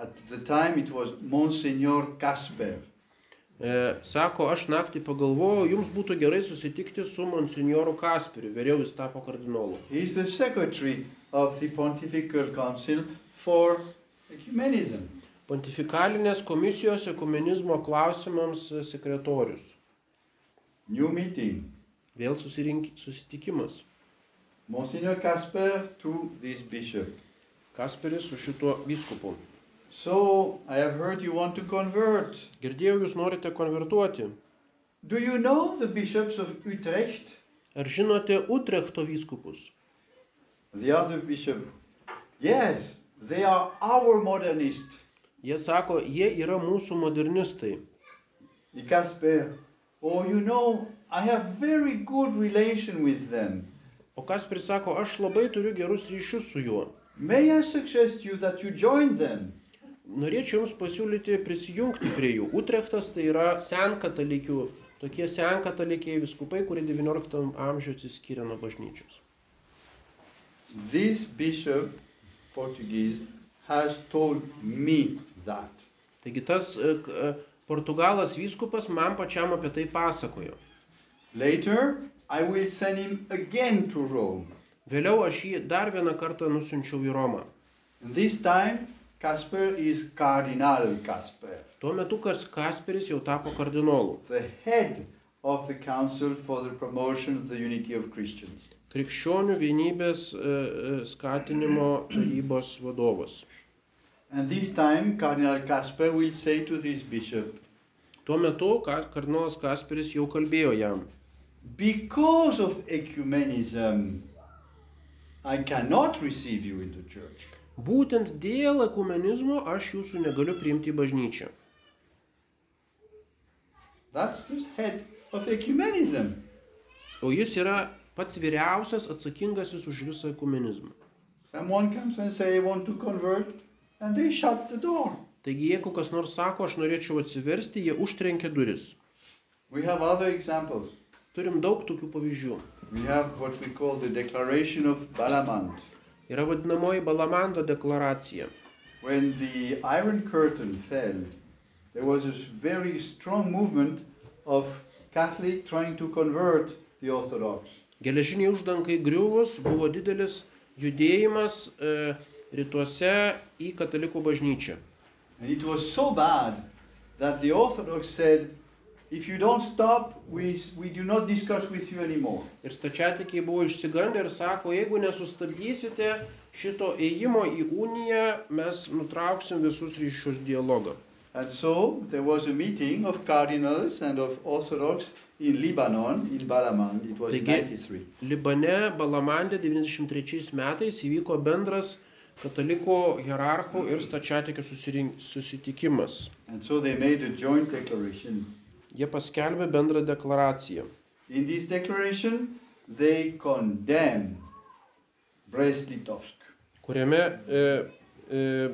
at the time it was Monsignor Casper.
E, sako, aš naktį pagalvojau, jums būtų gerai susitikti su monsinjoru Kasperiu, vėliau jis tapo kardinolu.
He is the secretary of the Pontifical Council for Ecumenism.
Pontifikalinės komisijos ekumenizmo klausimams e, sekretorius.
New meeting.
Vėl susirink, susitikimas.
Monsignor Casper to this bishop.
Kasperis su šituo vyskupu.
So I have heard you want to convert.
Girdėjau, jūs norite konvertuoti.
Do you know the bishops of Utrecht?
Ar žinote Utrechto vyskupus?
The other bishop. Yes, they are our modernists.
Jie sako, jie yra mūsų modernistai.
The Casper. Oh, you know, I have very good relation with them.
O Kasperis sako, aš labai turiu gerus ryšius su juo.
May I suggest you that you join them?
Norėčiau Jums pasiūlyti prisijungti prie jų. Utrechtas tai yra senkatalikių, tokie senkatalikiai viskupai, kurie XIX amžiuje atsiskyrė nuo bažnyčios.
This bishop, Portuguese, has told me that.
Taigi tas e, k- e, portugalas vyskupas man pačiam apie tai pasakojo.
Later, I will send him again to Rome.
Vėliau aš jį dar vieną kartą nusinčiau į Romą.
And this time, Casper is Cardinal Casper,
Tuo metu kas Kasperis jau tapo kardinolu,
the head of the Council for the Promotion of the Unity of Christians.
krikščionių vienybės e, e, skatinimo tarybos vadovas.
And this time, Cardinal Casper will say to this bishop,
Tuo metu ka- kardinolas Kasperis jau kalbėjo jam.
Because of ecumenism, I cannot receive you in the church.
Būtent dėl ekumenizmo aš jūsų negaliu priimti į bažnyčią.
That's the head of ecumenism.
O jis yra pats vyriausias atsakingasis už visą ekumenizmą.
Someone comes and say, I want to convert, and they shut the door.
Taigi jeigu kas nors sako, aš norėčiau atsiversti, jie užtrenkia duris.
We have other examples.
Turim daug tokių pavyzdžių.
We have what we call the Declaration of Balamant.
Yra vadinamoji Balamando deklaracija.
When the Iron Curtain fell, there was a very strong movement of Catholic trying to convert the Orthodox.
Geležiniai uždankai griuvus buvo didelis judėjimas e, rytuose į katalikų bažnyčią.
And it was so bad that the Orthodox said, if you don't stop, we, we do not discuss with you anymore.
Ir stačiatikiai buvo išsigandę ir sako, jeigu nesustabdysite šito ėjimo į uniją, mes nutrauksim visus ryšius dialogą.
And so there was a meeting of cardinals and of Orthodox in Lebanon, in Balamand, it was in
They get-
93.
Libane, Balamandė 93 metais įvyko bendras katalikų hierarchų ir stačiatikių susirink- susitikimas.
And so they made a joint declaration.
Jie paskelbė bendrą deklaraciją.
In this declaration, they condemn Brest-Litovsk.
kuriame e, e,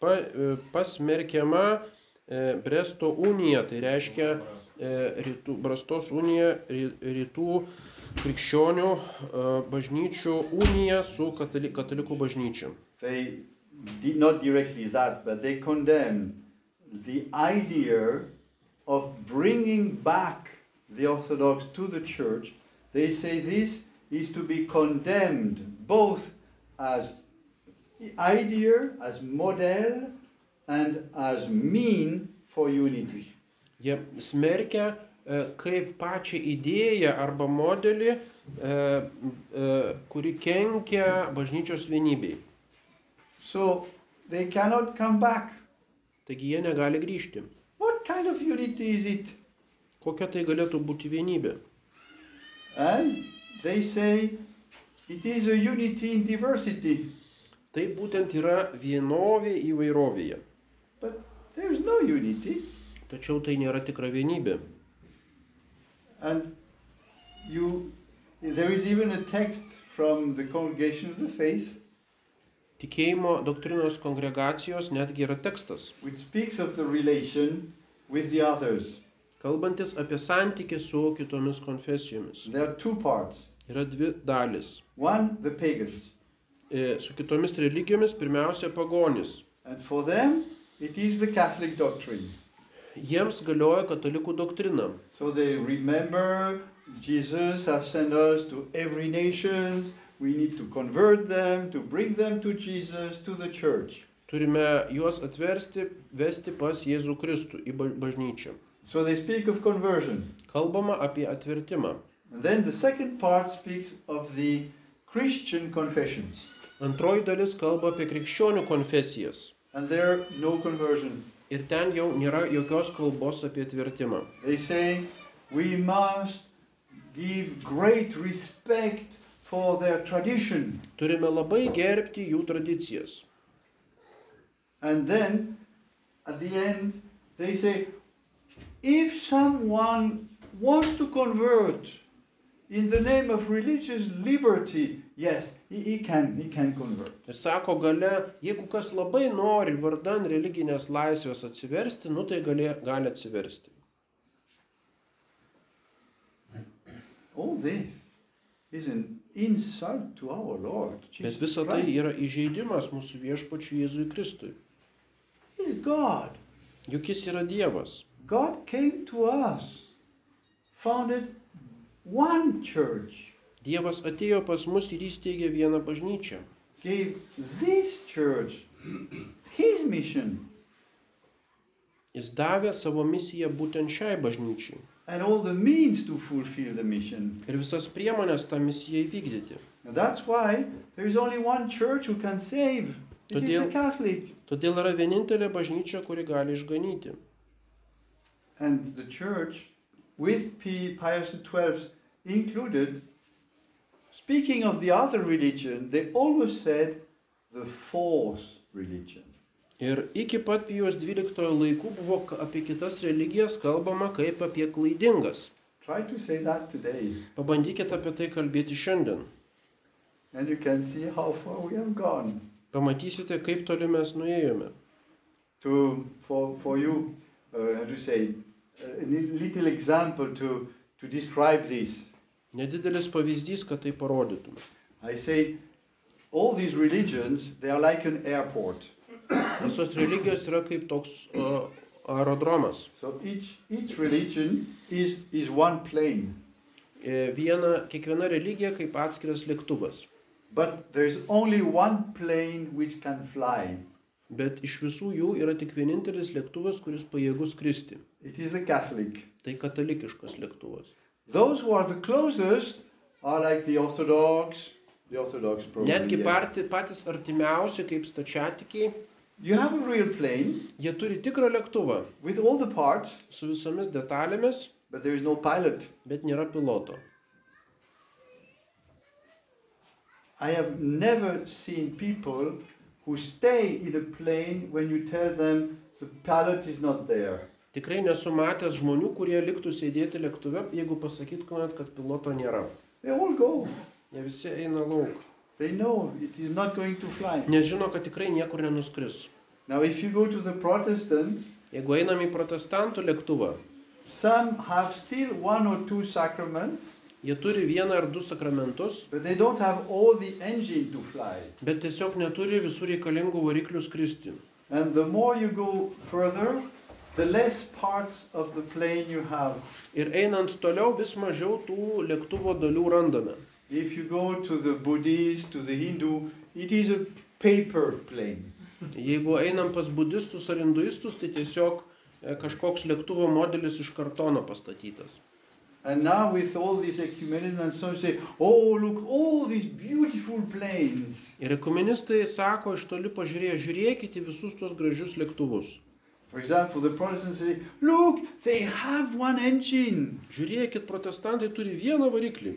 pa, e, pasmerkiama e, Bresto unija, tai reiškia e, rytų, Brastos unija ry- rytų krikščionių e, bažnyčių unija su katali, katalikų bažnyčia.
They did not directly that, but they condemned the idea of bringing back the Orthodox to the church. They say this is to be condemned both as idea, as model, and as mean for unity.
Jie smerkia e, kaip pačią idėją arba modelį, e, e, kuri kenkia bažnyčios vienybei.
So they cannot come back.
Taigi jie negali grįžti.
What kind of unity is it?
Kokia tai galėtų būti vienybė?
And Eh? they say it is a unity in diversity,
Tai būtent yra vienovė įvairovėje.
but there is no unity.
Tačiau tai nėra tikra vienybė.
And you, there is even a text from the Congregation of the Faith
Tikėjimo doktrinos kongregacijos netgi yra tekstas,
which speaks of the relation with the others.
kalbantis apie santykį su kitomis konfesijomis.
There are two parts.
Yra dvi dalis.
One, the pagans.
E, Su kitomis religijomis pirmiausia pagonis.
And for them, it is the Catholic doctrine.
Jiems galioja katalikų doktrina.
So they remember Jesus has sent us to every nation. We need to convert them, to bring them to Jesus, to the church.
Turime juos atversti, vesti pas Jėzų Kristų į ba- bažnyčią.
So they speak of conversion.
Kalbama apie atvertimą.
And then the second part speaks of the Christian confessions.
Antroji dalis kalba apie krikščionių konfesijas.
And there, no conversion.
Ir ten jau nėra jokios kalbos apie atvertimą.
They say we must give great respect for their tradition.
Turime labai gerbti jų tradicijas.
And then at the end, they say if someone wants to convert in the name of religious liberty, yes, he, he can, he can convert.
Ir sako gale, jeigu kas labai nori vardan religinės laisvės atsiversti, nu tai gali, gali atsiversti.
All this is an insult to our Lord.
Bet
Jesus
visa tai
Christ.
yra įžeidimas mūsų viešpačių Jėzui Kristui.
He's God.
Juk jis yra Dievas.
God came to us, founded one church,
Dievas atėjo pas mus ir įsteigė vieną bažnyčią.
gave this church his mission,
Jis davė savo misiją būtent šiai bažnyčiai.
and all the means to fulfill the mission.
Ir visas priemonės tą misiją įvykdyti.
And that's why there is only one church who can save. It is the
Todėl-
Catholic.
Todėl yra vienintelė bažnyčia, kuri gali išganyti.
And the church, with P. Pius XII included, speaking of the other religion, they always said the false religion.
Ir iki pat Pijos XII laikų buvo k- apie kitas religijas kalbama kaip apie klaidingas.
Try to say that today.
Pabandykite apie tai kalbėti šiandien.
And you can see how far we have gone.
Pamatysite, kaip toli mes nuėjome.
To, for, for you, uh, how to say, uh, a li- little example to, to describe this.
Nedidelis pavyzdys, kad tai parodytume.
I say, all these religions, they are like an airport.
Visos religijos yra kaip toks o, aerodromas.
So each, each religion is, is one plane,
E, Viena, kiekviena religija kaip atskiras lėktuvas.
but there is only one plane which can fly.
Bet iš visų jų yra tik vienintelis lėktuvas, kuris pajėgus kristi.
It is the Catholic.
Tai katalikiškas lėktuvas.
Those who are the closest are like the Orthodox, the Orthodox probably.
Netgi
Oh, yes.
parti, patys artimiausi kaip stačiatikiai,
You have a real plane
jie turi tikrą lėktuvą
with all the parts,
su visomis detalėmis,
but there is no pilot.
bet nėra piloto.
I have never seen people who stay in a plane when you tell them the pilot is not there.
Tikrai nesu matęs žmonių, kurie liktų sėdėti lėktuve, jeigu pasakytumėt, kad piloto nėra.
They all go.
Jie visi eina lauk.
They know it is not going to fly.
Nes žino, kad tikrai niekur nenuskris.
Now, if you go to the Protestants,
Jeigu einam į protestantų lėktuvą,
some have still one or two sacraments,
jie turi vieną ar du sakramentus,
but they don't have all the engine to fly.
bet tiesiog neturi visų reikalingų variklių skristi.
And the more you go further, the less parts of the plane you have.
Ir einant toliau vis mažiau tų lėktuvo dalių randame.
If you go to the Buddhist, to the Hindu, it is a paper plane.
Jeigu einam pas budistus ar hinduistus, tai tiesiog e, kažkoks lėktuvo modelis iš kartono pastatytas.
And now with all these ecumenism and some say, oh look, all these beautiful planes.
Ir ekonomistai sako, iš toli pažiūrėję, žiūrėkite į visus tuos gražius lėktuvus.
For example, the Protestants say, look, they have one engine
Žiūrėkit, protestantai turi vieną variklį.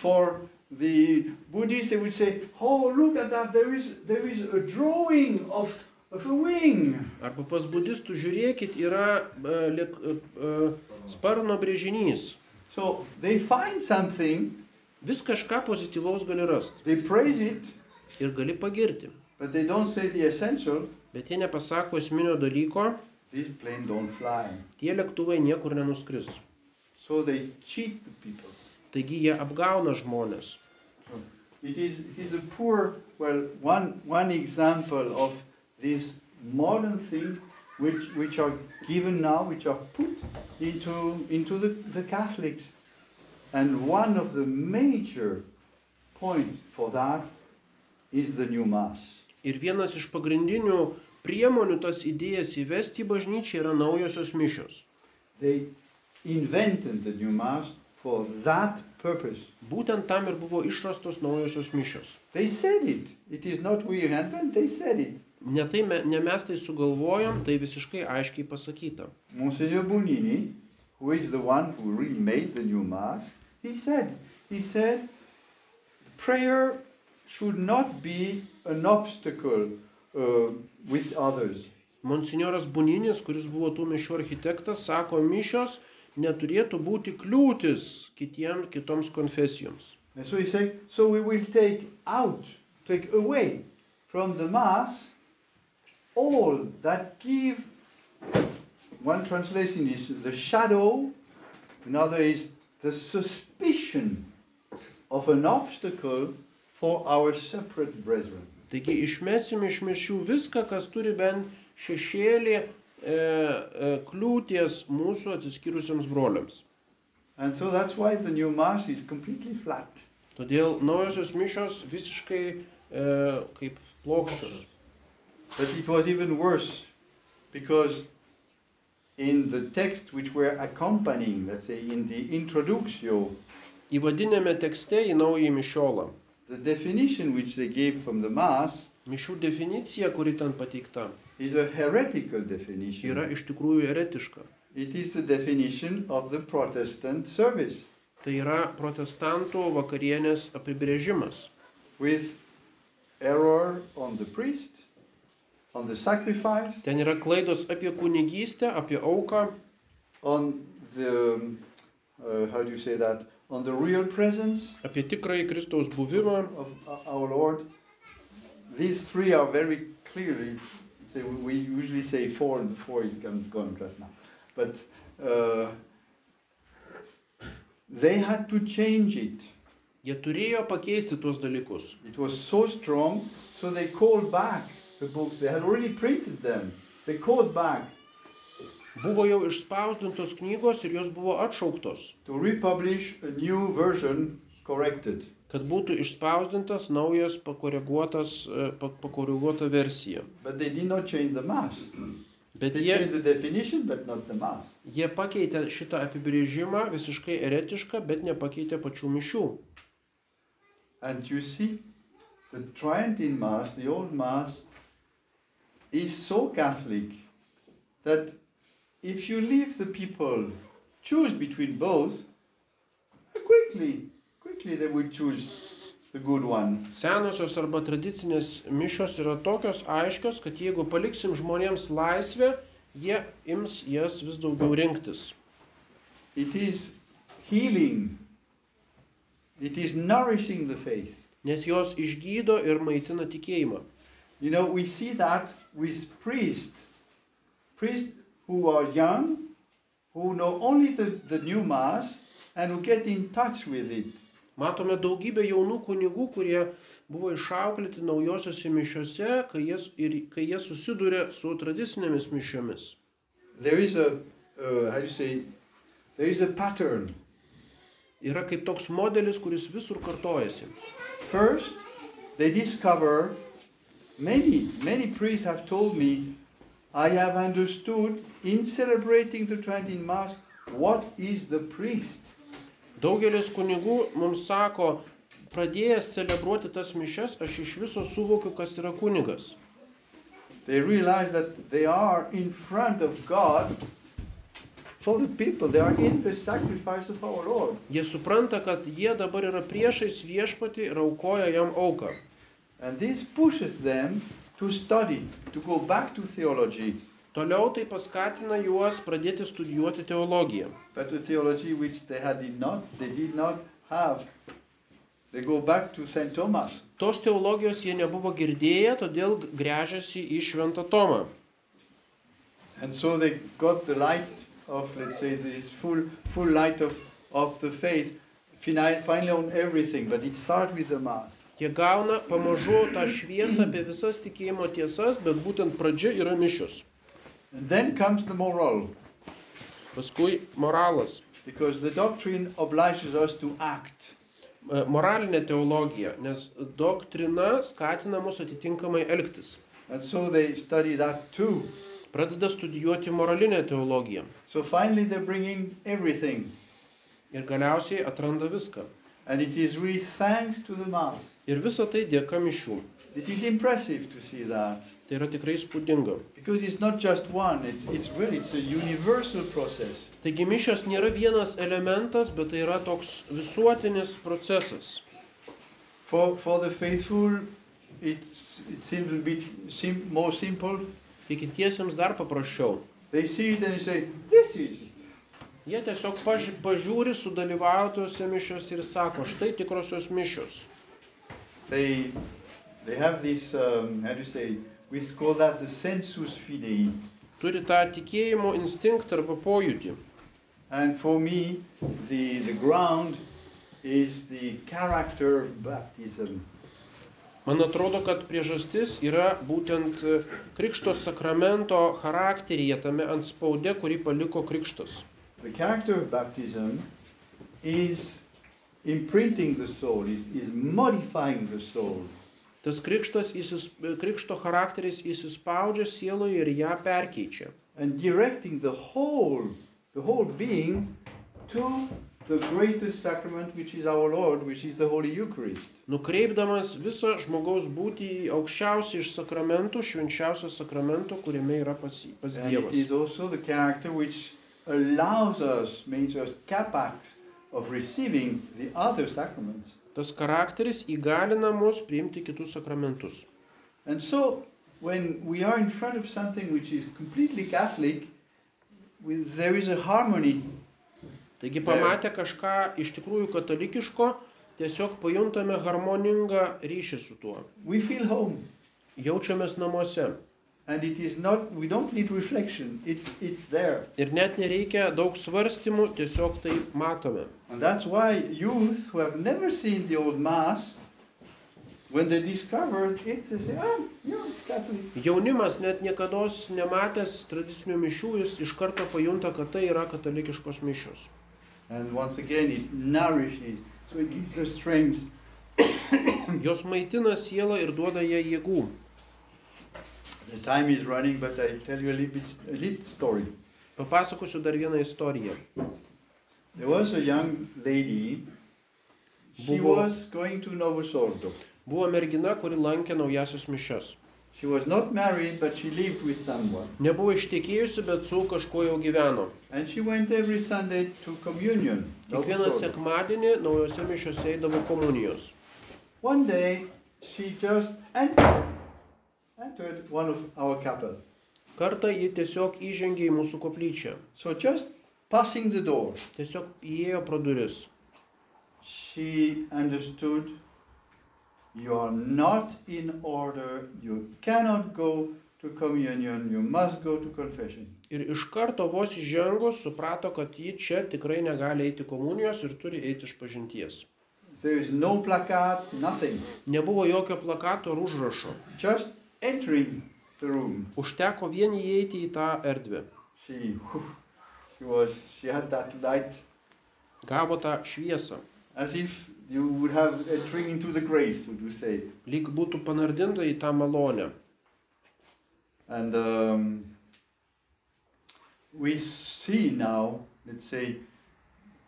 for the Buddhists. They would say, oh look at that, there is there is a drawing of of a wing.
Arba pas budistų žiūrėkit, yra e, lėk, e, e, sparno brėžinys.
So they find something,
Vis kažką pozityvaus gali rasti
they praise it,
ir gali pagirti.
but they don't say the essential.
Bet jie nepasako esminio dalyko,
This plane don't fly.
tie lėktuvai niekur nenuskris.
So they cheat the people.
Taigi jie apgauna žmonės.
It is, it is a poor, well, one, one example of this modern thing which, which are given now, which are put into, into the, the Catholics. And one of the major points for that is the new Mass.
Ir vienas iš pagrindinių priemonių tas idėjas įvesti į bažnyčią yra naujosios mišios.
They invented the new Mass for that purpose.
Būtent tam ir buvo išrastos naujosios mišios.
They said it. It is not we invent, they said it.
Ne, tai me, ne mes tai sugalvojom, tai visiškai aiškiai pasakyta.
Monsignor Bonini, who is the one who really made the new mass, he said, he said, prayer should not be an obstacle uh, with others.
Monsignoras Buninis, kuris buvo tų mišių architektas, sako, mišios neturėtų būti kliūtis kitiem, kitoms konfesijoms.
And so he said, so we will take out, take away from the mass all that give. One translation is the shadow, another is the suspicion of an obstacle for our separate brethren.
Taigi išmesim iš mišių viską, kas turi bent šešėlį e, e, kliūties mūsų atsiskyrusiems broliams.
And so that's why the new mass is completely flat.
Todėl naujosios mišios visiškai e, kaip plokščios.
But it was even worse because in the text which were accompanying, let's say in the introductio,
Įvadinėme tekste į naują mišiolą.
the definition which they gave from the mass
Mišių definicija, kuri ten pateikta,
is a heretical definition.
yra iš tikrųjų eretiška.
It is the definition of the Protestant service
Tai yra protestantų vakarienės apibrėžimas.
with error on the priest, on the sacrifice,
Ten yra klaidos apie kunigystę, apie auką,
on the, um, uh, how do you say that, on the real presence.
apie tikrąjį Kristaus buvimą.
of uh, our Lord. These three are very clearly. Say, we usually say four, and the four is gone, gone just now. But uh, they had to change it.
Jie turėjo pakeisti tuos dalykus.
It was so strong, so they called back the books. They had already printed them. They called back
Buvo jau išspausdintos knygos ir jos buvo atšauktos,
to republish a new version corrected.
kad būtų išspausdintas naujas pakoreguotas, e, pa- pakoreguota versija.
But they did not change the mass.
Bet
They
jie,
changed the definition, but not the mass.
jie pakeitė šitą apibrėžimą visiškai eretišką, bet nepakeitė pačių mišių.
And you see, the Trientine Mass, the old Mass, is so Catholic that if you leave the people choose between both, quickly, quickly they would choose the good one.
Senosios arba tradicinės mišios yra tokios aiškios, kad jeigu paliksim žmonėms laisvę, jie ims jas vis daugiau rinktis.
It is healing, it is nourishing the faith.
Nes jos išgydo ir maitina tikėjimą.
You know, we see that with priests. Priests who are young, who know only the, the new Mass, and who get in touch with it.
Matome daugybę jaunų kunigų, kurie buvo išauklėti naujosiose mišiose, kai jie, ir, kai jie susiduria su tradicinėmis mišiomis.
There is a, uh, how do you say, there is a pattern.
Yra kaip toks modelis, kuris visur kartojasi.
First, they discover many, many priests have told me, I have understood in celebrating the Tridentine Mass what is the priest.
Daugelis kunigų mums sako, pradėjęs celebruoti tas mišes, aš iš viso suvokiu, kas yra kunigas.
They realize that they are in front of God for the people, they are in the sacrifice of our Lord.
Jie supranta, kad jie dabar yra priešais viešpatį ir aukoja jam auką.
And this pushes them to study, to go back to theology,
Toliau tai paskatina juos pradėti studijuoti teologiją.
but a theology which they had did not, they did not have. They go back to Saint Thomas.
Tos teologijos jie nebuvo girdėję, todėl grežiasi į Šventą Tomą.
And so they got the light of, let's say, this full, full light of, of the faith, fini- finally on everything, but it starts with the Mass.
Jie gauna pamažu tą šviesą apie visas tikėjimo tiesas, bet būtent pradžia yra mišius.
And then comes the moral,
Paskui moralas.
because the doctrine obliges us to act.
E, Moralinė teologija, nes doktrina skatina mus atitinkamai elgtis.
And so they study that too.
Pradeda studijuoti moralinę teologiją
So finally they bring in everything.
ir galiausiai atranda viską.
And it is really thanks to the Mass.
Ir visa tai dėka mišių.
It is impressive to see that.
Tai yra tikrai spūdinga.
Because it's not just one, it's, it's really it's a universal process.
Taigi mišios nėra vienas elementas, bet tai yra toks visuotinis procesas.
For, for the faithful, it's, it seems a bit sim- more simple.
Tikintiesiems dar paprasčiau.
They see it and they say, This is.
Jie tiesiog paži pažiūri sudalyvautose mišios ir sako, štai tikrosios mišios.
They, they have this, um, how do you say, we call that the sensus fidei.
Turi tą tikėjimo instinktą arba pojūtį.
And for me, the, the ground is the character of baptism.
Man atrodo, kad priežastis yra būtent e, Krikšto sakramento charakteryje, tame ant spaude, kurį paliko Krikštas.
The character of baptism is imprinting the soul, is, is modifying the soul.
Tas krikštas, įsis, e, Krikšto charakteris įsispaudžia sieloje ir ją perkeičia.
and directing the whole, the whole being to the greatest sacrament which is our Lord, which is the Holy Eucharist.
Nukreipdamas visą žmogaus būti į aukščiausią iš sakramentų, švenčiausią sakramentų, kuriame yra pas, pas
And it
Dievas.
is also the character which allows us, makes us capax of receiving the other sacraments.
Tas charakteris įgalina mus priimti kitus sakramentus.
And so when we are in front of something which is completely Catholic, we, there is a harmony.
Taigi pamatę kažką iš tikrųjų katalikiško, tiesiog pajuntame harmoningą ryšį su tuo.
We feel home.
Jaučiamės namuose.
And it is not, we don't need reflection, it's, it's there.
Ir net nereikia daug svarstymų, tiesiog tai matome.
And that's why youth who have never seen the old mass, when they discover it, they say, "Ah, you're Catholic."
Jaunimas net niekada nematęs tradicinių mišių, jis iš karto pajunta, kad tai yra katalikiškos mišios.
And once again, it nourishes, so it gives us strength.
Jos maitina sielą ir duoda ją jėgų.
The time is running, but I tell you a little bit, a little story.
Papasakosiu dar vieną istoriją.
There was a young lady. She
Buvo-
was going to Novosordo.
Buvo mergina, kuri lankė naujasios mišias.
She was not married, but she lived with someone,
Nebuvo ištekėjusi, bet su kažkuo jau gyveno.
and she went every Sunday to communion.
Kiekvieną
Novosordo.
sekmadienį naujose mišiose eidavo komunijos.
One day, she just en- entered one of our chapel.
Kartą ji tiesiog įžengė į mūsų koplyčią.
So just passing the door,
Tiesiog įėjo pro duris.
she understood you are not in order, you cannot go to communion, you must go to confession.
Ir iš karto vos įžengus suprato, kad ji čia tikrai negali eiti komunijos ir turi eiti iš pažinties.
There is no placard, nothing.
Nebuvo jokio plakato ar užrašo.
Just entering the room,
Užteko vien įeiti į tą erdvę.
she, she was, she had that light,
Gavo tą šviesą.
as if you would have entering into the grace, would you say?
lyg būtų panardinta į tą malonę.
And um, we see now, let's say,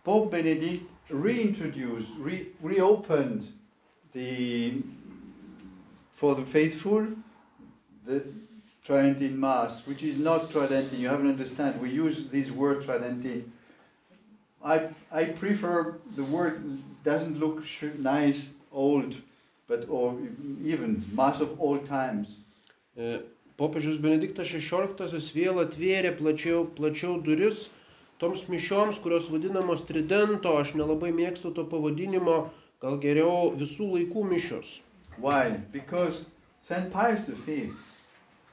Pope Benedict reintroduced, re- reopened the for the faithful the Tridentine Mass, which is not Tridentine. You haven't understand. We use this word Tridentine. I I prefer the word doesn't look sh- nice old, but or even Mass of all times.
E, Popiežius Benediktas XVI vėl atvėrė plačiau, plačiau duris toms mišioms, kurios vadinamos tridento, aš nelabai mėgstu to pavadinimo, gal geriau visų laikų mišios.
Why? Because St. Pius V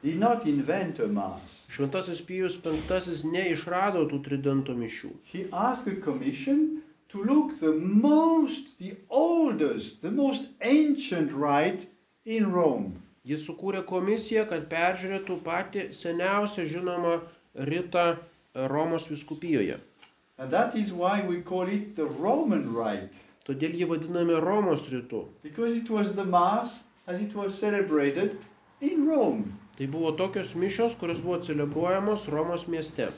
did not invent a mass.
Šventasis Pijus V neišrado tų tridento mišių.
He asked a commission to look the most, the oldest, the most ancient rite in Rome.
Jis sukūrė komisiją, kad peržiūrėtų patį seniausią žinomą rytą e, Romos viskupijoje.
And that is why we call it the Roman rite,
Todėl jį vadiname Romos rytu.
because it was the mass as it was celebrated in Rome.
Tai buvo tokios mišios, kurios buvo celebruojamos Romos mieste.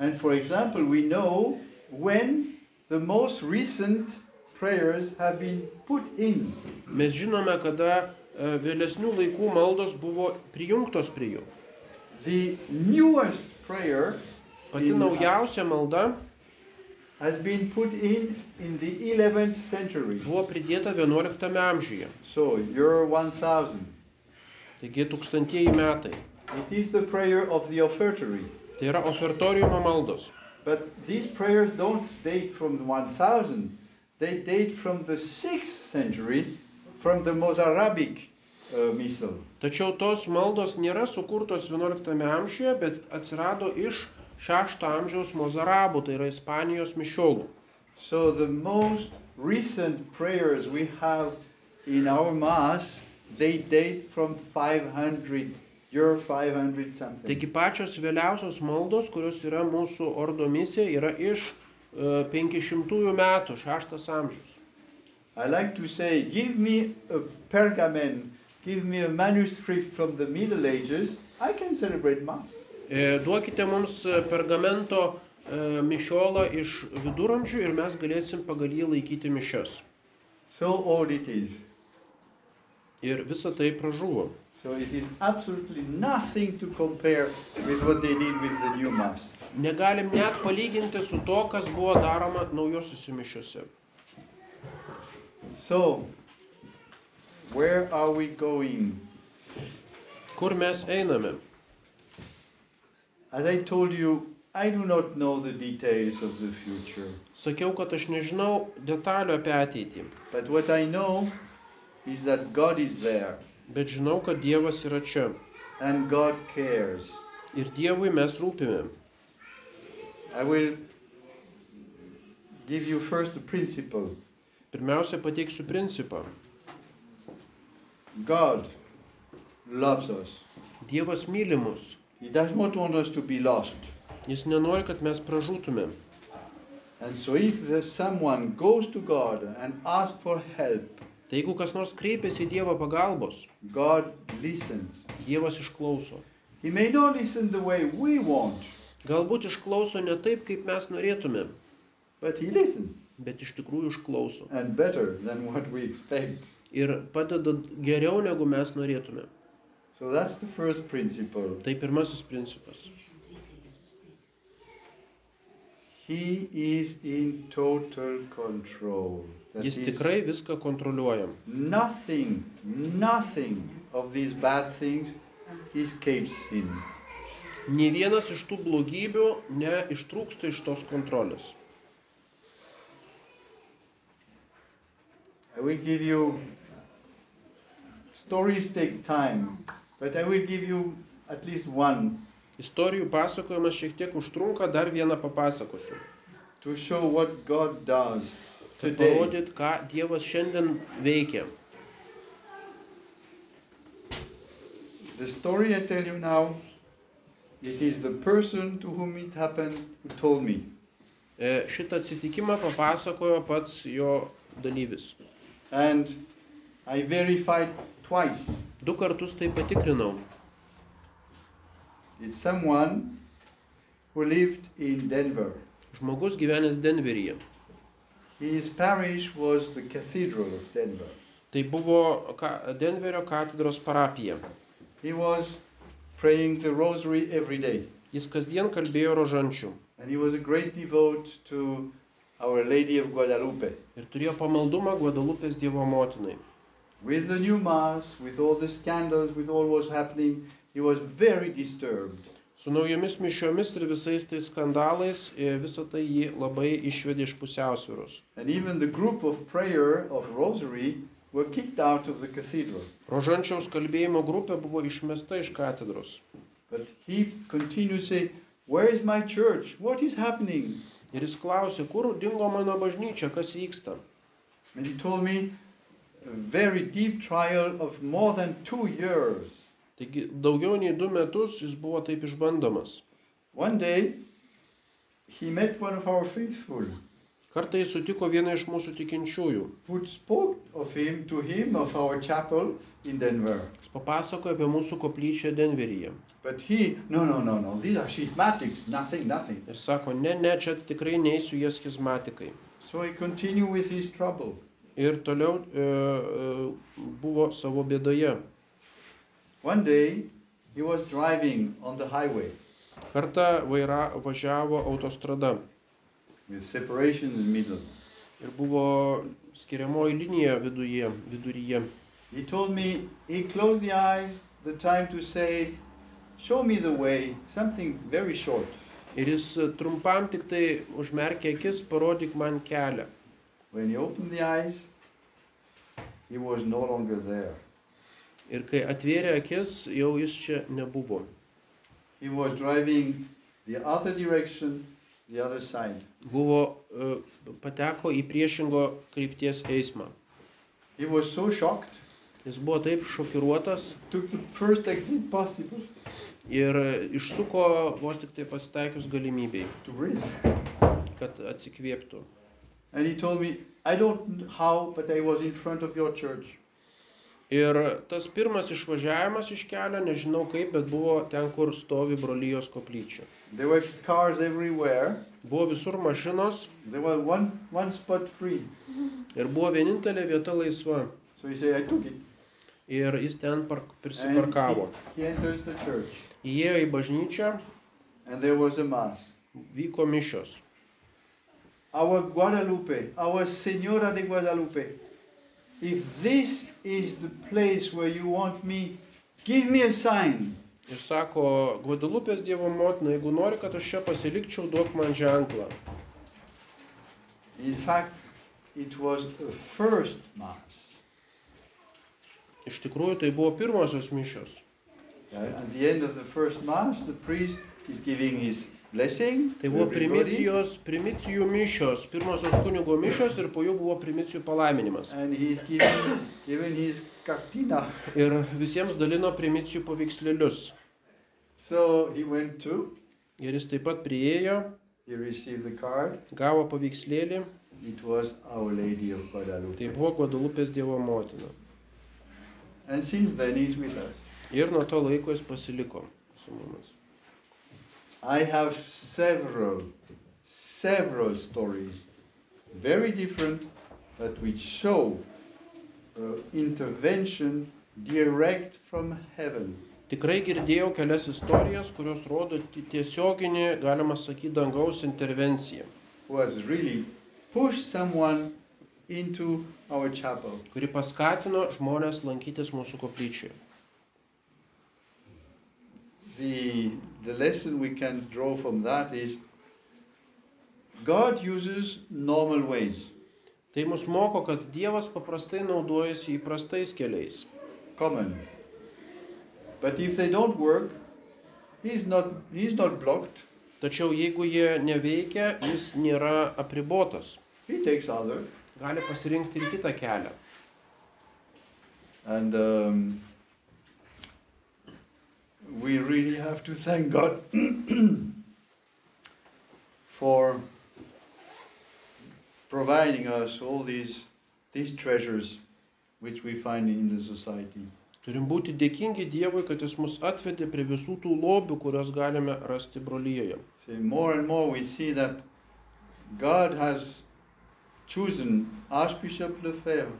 And for example, we know when the most recent prayers have been put in.
Mes žinome, kada e, vėlesnių laikų maldos buvo prijungtos prie jų.
The newest prayer
Pati
in-
naujausia malda
has been put in in the 11th century.
buvo pridėta 11 amžiuje,
So, year 1000.
taigi tūkstantieji metai.
It is the prayer of the offertory.
Tai yra ofertoriumo maldos.
But these prayers don't date from 1000, they date from the 6th century, from the Mozarabic uh, Missal.
Tačiau tos maldos nėra sukurtos 11 amžiuje, bet atsirado iš 6 amžiaus mozarabų, tai yra Ispanijos mišiolų.
So, the most recent prayers we have in our Mass, they date from 500, year 500 something.
Taigi pačios vėliausios maldos, kurios yra mūsų ordo misija, yra iš e, 500 metų, 6 amžius.
I like to say, give me a pergamen, give me a manuscript from the Middle Ages, I can celebrate Mass.
E, Duokite mums e, pergamento e, mišiolą iš viduramžių ir mes galėsim pagal jį laikyti mišias.
So old it is.
Ir visa tai pražuvo.
So it is absolutely nothing to compare with what they did with the new Mass.
Negalim net palyginti su to, kas buvo daroma naujosiuose mišiuose.
So, where are we going?
Kur mes einame?
As I told you, I do not know the details of the future.
Sakiau, kad aš nežinau detalių apie ateitį,
But what I know is that God is there
bet žinau, kad Dievas yra čia.
and God cares.
Ir Dievui mes rūpime.
I will give you first a principle.
Pirmiausia, pateiksiu principą.
God loves us.
Dievas myli mus.
He does not want us to be lost.
Jis nenori, kad mes pražūtume.
And so if there's someone goes to God and asks for help,
Tai jeigu kas nors kreipiasi į Dievo pagalbos,
God listens.
Dievas išklauso.
He may not listen the way we want,
Galbūt išklauso ne taip, kaip mes norėtume,
but he listens
bet iš tikrųjų išklauso.
and better than what we expect.
Ir padeda geriau, negu mes norėtume.
So that's the first principle.
Tai pirmasis principas.
He is in total control. That
Jis
is,
tikrai viską kontroliuoja.
nothing, nothing of these bad things escapes him.
Nė vienas iš tų blogybių neištrūksta iš tos kontrolės.
I will give you stories take time, but I will give you at least one
Istorijų pasakojimas šiek tiek užtrunka, dar vieną papasakosiu.
to show what God does
Kad
today.
parodyt, ką Dievas šiandien veikia.
The story I tell you now, it is the person to whom it happened who told me.
E, Šitą atsitikimą papasakojo pats jo dalyvis.
And I verified twice.
Du kartus tai patikrinau.
It's someone who lived in Denver.
Žmogus gyvenęs Denveryje.
His parish was the Cathedral of Denver.
Tai buvo ka- Denverio katedros parapija.
He was praying the rosary every day,
Jis kasdien kalbėjo rožančių
and he was a great devote to Our Lady of Guadalupe.
ir turėjo pamaldumą Guadalupės Dievo motinai.
With the new mass, with all the scandals, with all what's happening, he was very disturbed.
Su naujomis mišiomis ir visais tais skandalais e, visą tai jį labai išvedė iš pusiausvėros.
And even the group of prayer of Rosary were kicked out of the cathedral.
Rožančiaus kalbėjimo grupė buvo išmesta iš katedros.
But he continued saying, Where is my church? What is happening?
Ir jis klausė, kur dingo mano bažnyčia, kas vyksta.
And he told me a very deep trial of more than two years.
Taigi daugiau nei du metus jis buvo taip išbandomas.
One day, he met one of our faithful
Kartą jis sutiko vieną iš mūsų tikinčiųjų.
who spoke of him to him of our chapel in Denver.
Jis papasakojo apie mūsų koplyčią Denveryje.
But he, no, no, no, no, these are schismatics, nothing, nothing.
Ir sako, ne, ne, čia tikrai neįsiu jie schizmatikai.
So he continued with his trouble.
Ir toliau e, e, buvo savo bėdoje.
One day, he was driving on the highway
Kartą vaira važiavo autostrada
with separation in the middle.
ir buvo skiriamoji linija viduje, viduryje.
He told me he closed the eyes the time to say, Show me the way, something very short.
Ir jis trumpam tik tai užmerkė akis, parodyk man kelią.
When he opened the eyes, he was no longer there.
Ir kai atvėrė akis, jau jis čia nebuvo.
He was driving the other direction, the other side.
Buvo, e, pateko į priešingo krypties eismą.
He was so shocked,
Jis buvo taip šokiruotas
took the first exit possible
ir išsuko vos tik tai pasitaikius galimybei,
to breathe.
kad atsikvėptų.
And he told me, I don't know how, but I was in front of your church.
Ir tas pirmas išvažiavimas iš kelio, nežinau kaip, bet buvo ten, kur stovi brolyjos koplyčia.
There were cars everywhere.
Buvo visur mašinos
There was one, one spot free.
ir buvo vienintelė vieta laisva.
So he said, I took it.
Ir jis ten park,
And
prisiparkavo.
he, he enters the church.
Įėjo į bažnyčią,
And there was a mass.
vyko mišios.
Our Guadalupe, our Senora de Guadalupe, if this is the place where you want me, give me a sign.
Ir sako, Guadalupės Dievo motina, jeigu nori, kad aš čia pasilikčiau, duok man ženklą.
In fact, it was a first mass.
Iš tikrųjų, tai buvo pirmosios mišios.
At the end of the first mass, the priest is giving his blessing.
Tai
to
buvo
everybody.
primicijos, primicijų mišios, pirmosios kunigo mišios ir po jų buvo primicijų palaiminimas.
And he's giving, giving his cartina.
Ir visiems dalino primicijų paveikslėlius.
So he went to,
Ir jis taip pat priejo,
he received the card.
gavo paveikslėlį,
It was Our Lady of
tai
Guadalupe.
buvo Guadalupės Dievo motina.
And since then he's with us.
Ir nuo to laiko jis pasiliko su mumis.
I have several, several stories, very different, but which show uh, intervention direct from heaven.
Tikrai girdėjau kelias istorijas, kurios rodo ti- tiesioginį, galima sakyti, dangaus intervenciją,
Who has really pushed someone into our chapel.
kuri paskatino žmonės lankytis mūsų koplyčioje.
the the lesson we can draw from that is God uses normal ways,
Tai mus moko, kad Dievas paprastai naudojasi įprastais keliais.
common. But if they don't work, he's not he's not blocked.
Tačiau jeigu jie neveikia, jis nėra apribotas.
He takes other,
Gali pasirinkti ir kitą kelią.
and um, we really have to thank God <clears throat> for providing us all these these treasures which we find in the society.
Turim būti dėkingi Dievui, kad Jis mus atvedė prie visų tų lobių, kurias galime rasti brolyje.
See, more and more we see that God has chosen Archbishop Lefebvre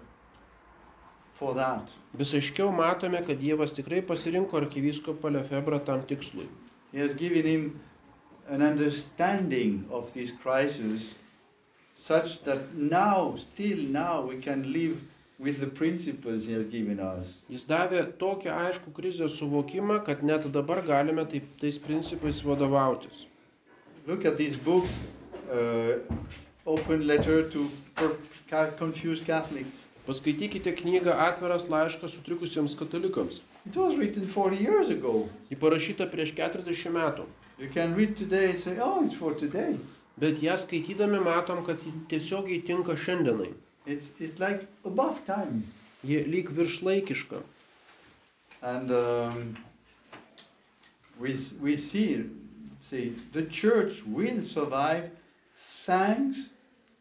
for that.
Vis aiškiau matome, kad Dievas tikrai pasirinko arkivyskopą Lefebrą tam tikslui.
He has given him an understanding of this crisis such that now, still now, we can live with the principles he has given us.
Jis davė tokią aišku krizės suvokimą, kad net dabar galime taip, tais principais vadovautis.
Look at this book, uh, Open Letter to Per- Ca- Confused Catholics.
Paskaitykite knygą Atviras laiškas sutrikusiems katalikams.
It was written 40 years ago.
Ji parašyta prieš 40 metų.
You can read today and say, oh, it's for today.
Bet ją skaitydami matom, kad ji tiesiogiai tinka šiandienai.
It's, it's like above time.
Ji lyg viršlaikiška.
And um, we, we see, see, the church will survive thanks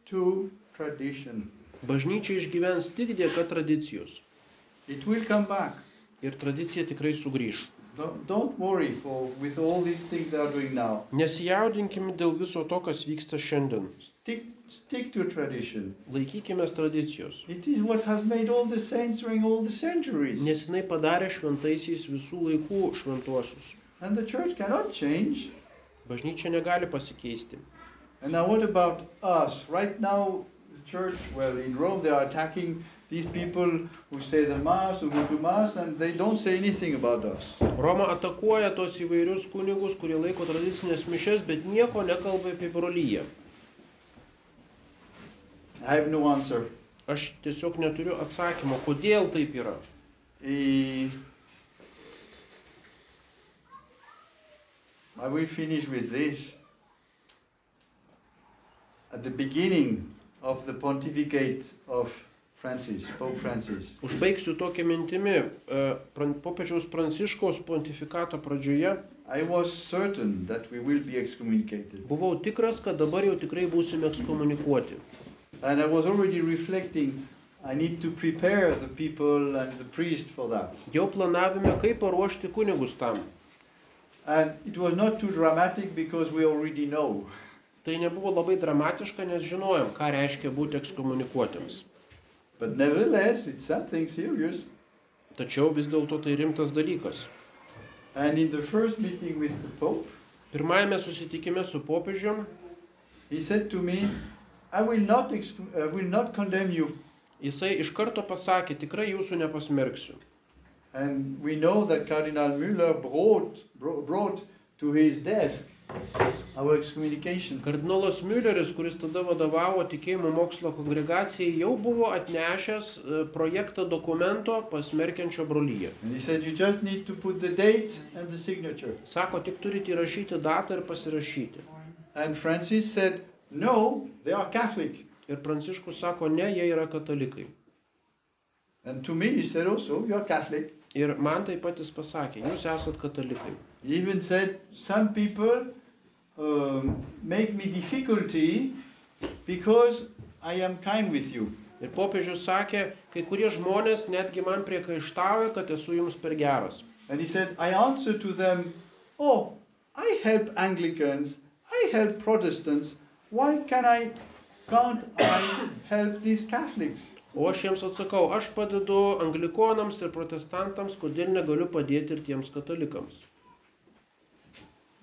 to tradition.
Bažnyčia išgyvens tik dėka tradicijos.
It will come back.
Ir tradicija tikrai sugrįž.
Don't, don't worry for with all these things they are doing now.
Nesijaudinkime dėl viso to, kas vyksta šiandien.
Stick, stick to tradition.
Laikykime tradicijos.
It is what has made all the saints during all the centuries.
Nes jinai padarė šventaisiais visų laikų šventuosius.
And the church cannot change.
Bažnyčia negali pasikeisti.
And now, what about us? Right now, the church, well, in Rome, they are attacking these people who say the Mass, who go to Mass, and they don't say anything about us.
Roma atakuoja tos įvairius kunigus, kurie laiko tradicinės mišes, bet nieko nekalba apie brolyje.
I have no answer.
Aš tiesiog neturiu atsakymo, kodėl taip yra.
Eh, I will finish with this. At the beginning of the pontificate of Francis, Pope Francis,
Užbaigsiu tokią mintimį. e, Pran- Popiežiaus Pranciškaus pontifikato pradžioje
I was certain that we will be excommunicated.
buvau tikras, kad dabar jau tikrai būsime ekskomunikuoti.
And I was already reflecting, I need to prepare the people and the priest for that.
Jau planavime, kaip paruošti kunigus tam.
And it was not too dramatic because we already know.
Tai nebuvo labai dramatiška, nes žinojom, ką reiškia būti ekskomunikuotiems.
But nevertheless, it's something serious.
Tačiau vis dėlto tai rimtas dalykas.
And in the first meeting with the Pope,
Pirmajame susitikime su popiežiumi
he said to me, I will not, ex- I will not condemn you.
jisai iš karto pasakė, tikrai jūsų nepasmerksiu.
And we know that Cardinal Müller brought, bro- brought to his desk our excommunication.
Kardinolas Mülleris, kuris tada vadovavo tikėjimo mokslo kongregacijai, jau buvo atnešęs e, projektą dokumento pasmerkiančio brolyje.
And he said, You just need to put the date and the signature.
Sako, tik turite įrašyti datą ir pasirašyti.
And Francis said, No, they are Catholic.
Ir Pranciškus sako, ne, jie yra katalikai.
And to me, he said also, You're Catholic.
Ir man taip pat jis pasakė, jūs esat katalikai.
He even said, Some people um, make me difficulty because I am kind with you.
Ir popiežius sakė, kai kurie žmonės netgi man priekaištauja, kad esu jums per geras.
And he said, I answer to them, Oh, I help Anglicans, I help Protestants, why can I, can't I help these Catholics?
O aš jiems atsakau, aš padedu anglikonams ir protestantams, kodėl negaliu padėti ir tiems katalikams.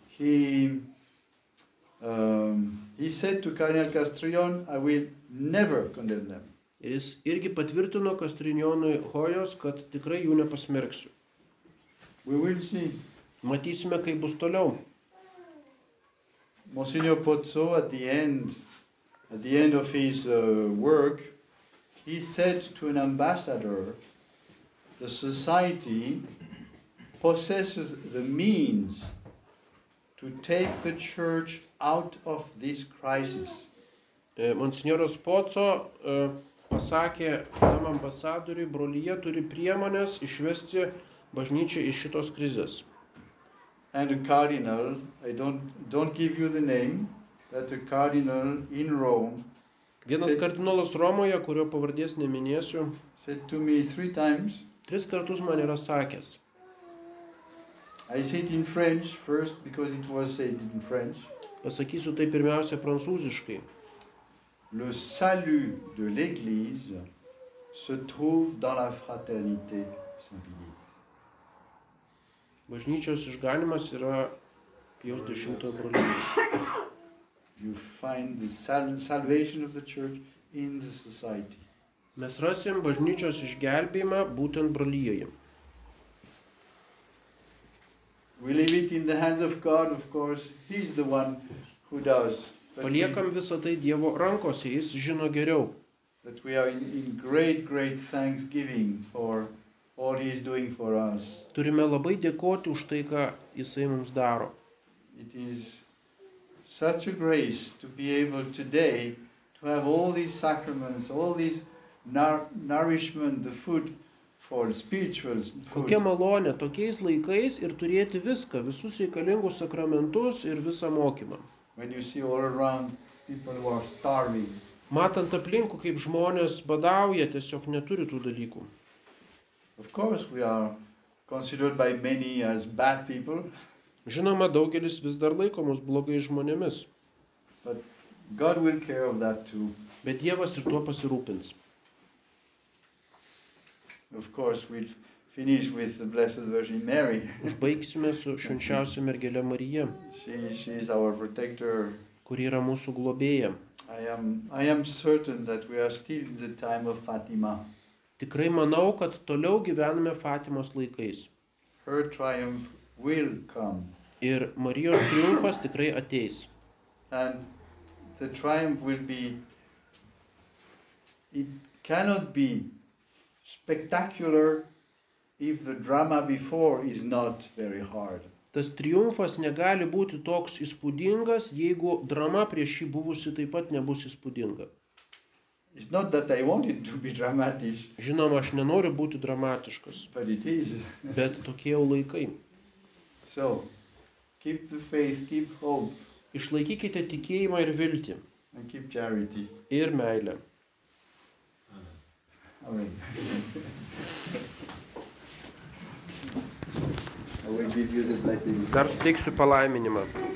He, um, he said to Cardinal Castrillon, I will never condemn them.
Ir jis irgi patvirtino Kastrinjonui Hojos, kad tikrai jų nepasmerksiu.
We will see.
Matysime, kaip bus toliau.
Monsignor Pozzo, at the end, at the end of his uh, work, he said to an ambassador, "The society possesses the means to take the church out of this crisis."
E, Monsignoras Poco e, pasakė tam ambasadoriui, brolyje turi priemonės išvesti bažnyčią iš šitos krizės.
And a cardinal, I don't don't give you the name, but a cardinal in Rome
Vienas kardinolas Romoje, kurio pavardės neminėsiu,
said to me three times.
tris kartus man yra sakęs.
I say it in French first because it was said in French.
Pasakysiu tai pirmiausia prancūziškai.
Le salut de l'Église se trouve dans la fraternité Saint-Pédis.
Bažnyčios išganimas yra jos dešimtojo brolybė.
You find the sal- salvation of the church in the society.
Mes rasim bažnyčios išgelbėjimą būtent brolyje.
We leave it in the hands of God, of course. He's the one who does. But we,
Paliekam visą tai Dievo rankose, jis žino geriau.
but we are in, in great, great thanksgiving for all He is doing for us.
Turime labai dėkoti už tai, ką jisai mums daro.
It is such a grace to be able today to have all these sacraments, all these nar- nourishment, the food for spiritual food.
Kokia malonė tokiais laikais ir turėti viską, visus reikalingus sakramentus ir visą mokymą.
When you see all around people who are starving,
Matant aplinkų, kaip žmonės badauja, tiesiog neturi tų dalykų.
of course we are considered by many as bad people,
Žinoma, daugelis vis dar laikomus blogai žmonėmis,
but God will care of that too.
bet Dievas ir tuo pasirūpins.
Of course we'll finish with the Blessed Virgin Mary.
Užbaigsime su švenčiausia mergelė Marija,
She, she is our protector,
kuri yra mūsų globėja.
I am, I am certain that we are still in the time of Fatima.
Tikrai manau, kad toliau gyvename Fatimos laikais.
Her triumph will come,
Ir Marijos triumfas tikrai ateis.
and the triumph will be. It cannot be spectacular if the drama before is not very hard.
Tas triumfas negali būti toks įspūdingas, jeigu drama prieš jį buvusi taip pat nebus įspūdinga.
It's not that I want it to be dramatic,
Žinoma, aš nenoriu būti dramatiškas,
but it is.
bet tokie jau laikai.
So, keep the faith, keep hope,
Išlaikykite tikėjimą ir viltį.
and keep charity.
Ir meilę.
Amen. <laughs> I will give you the blessing.
Dar suteiksiu palaiminimą.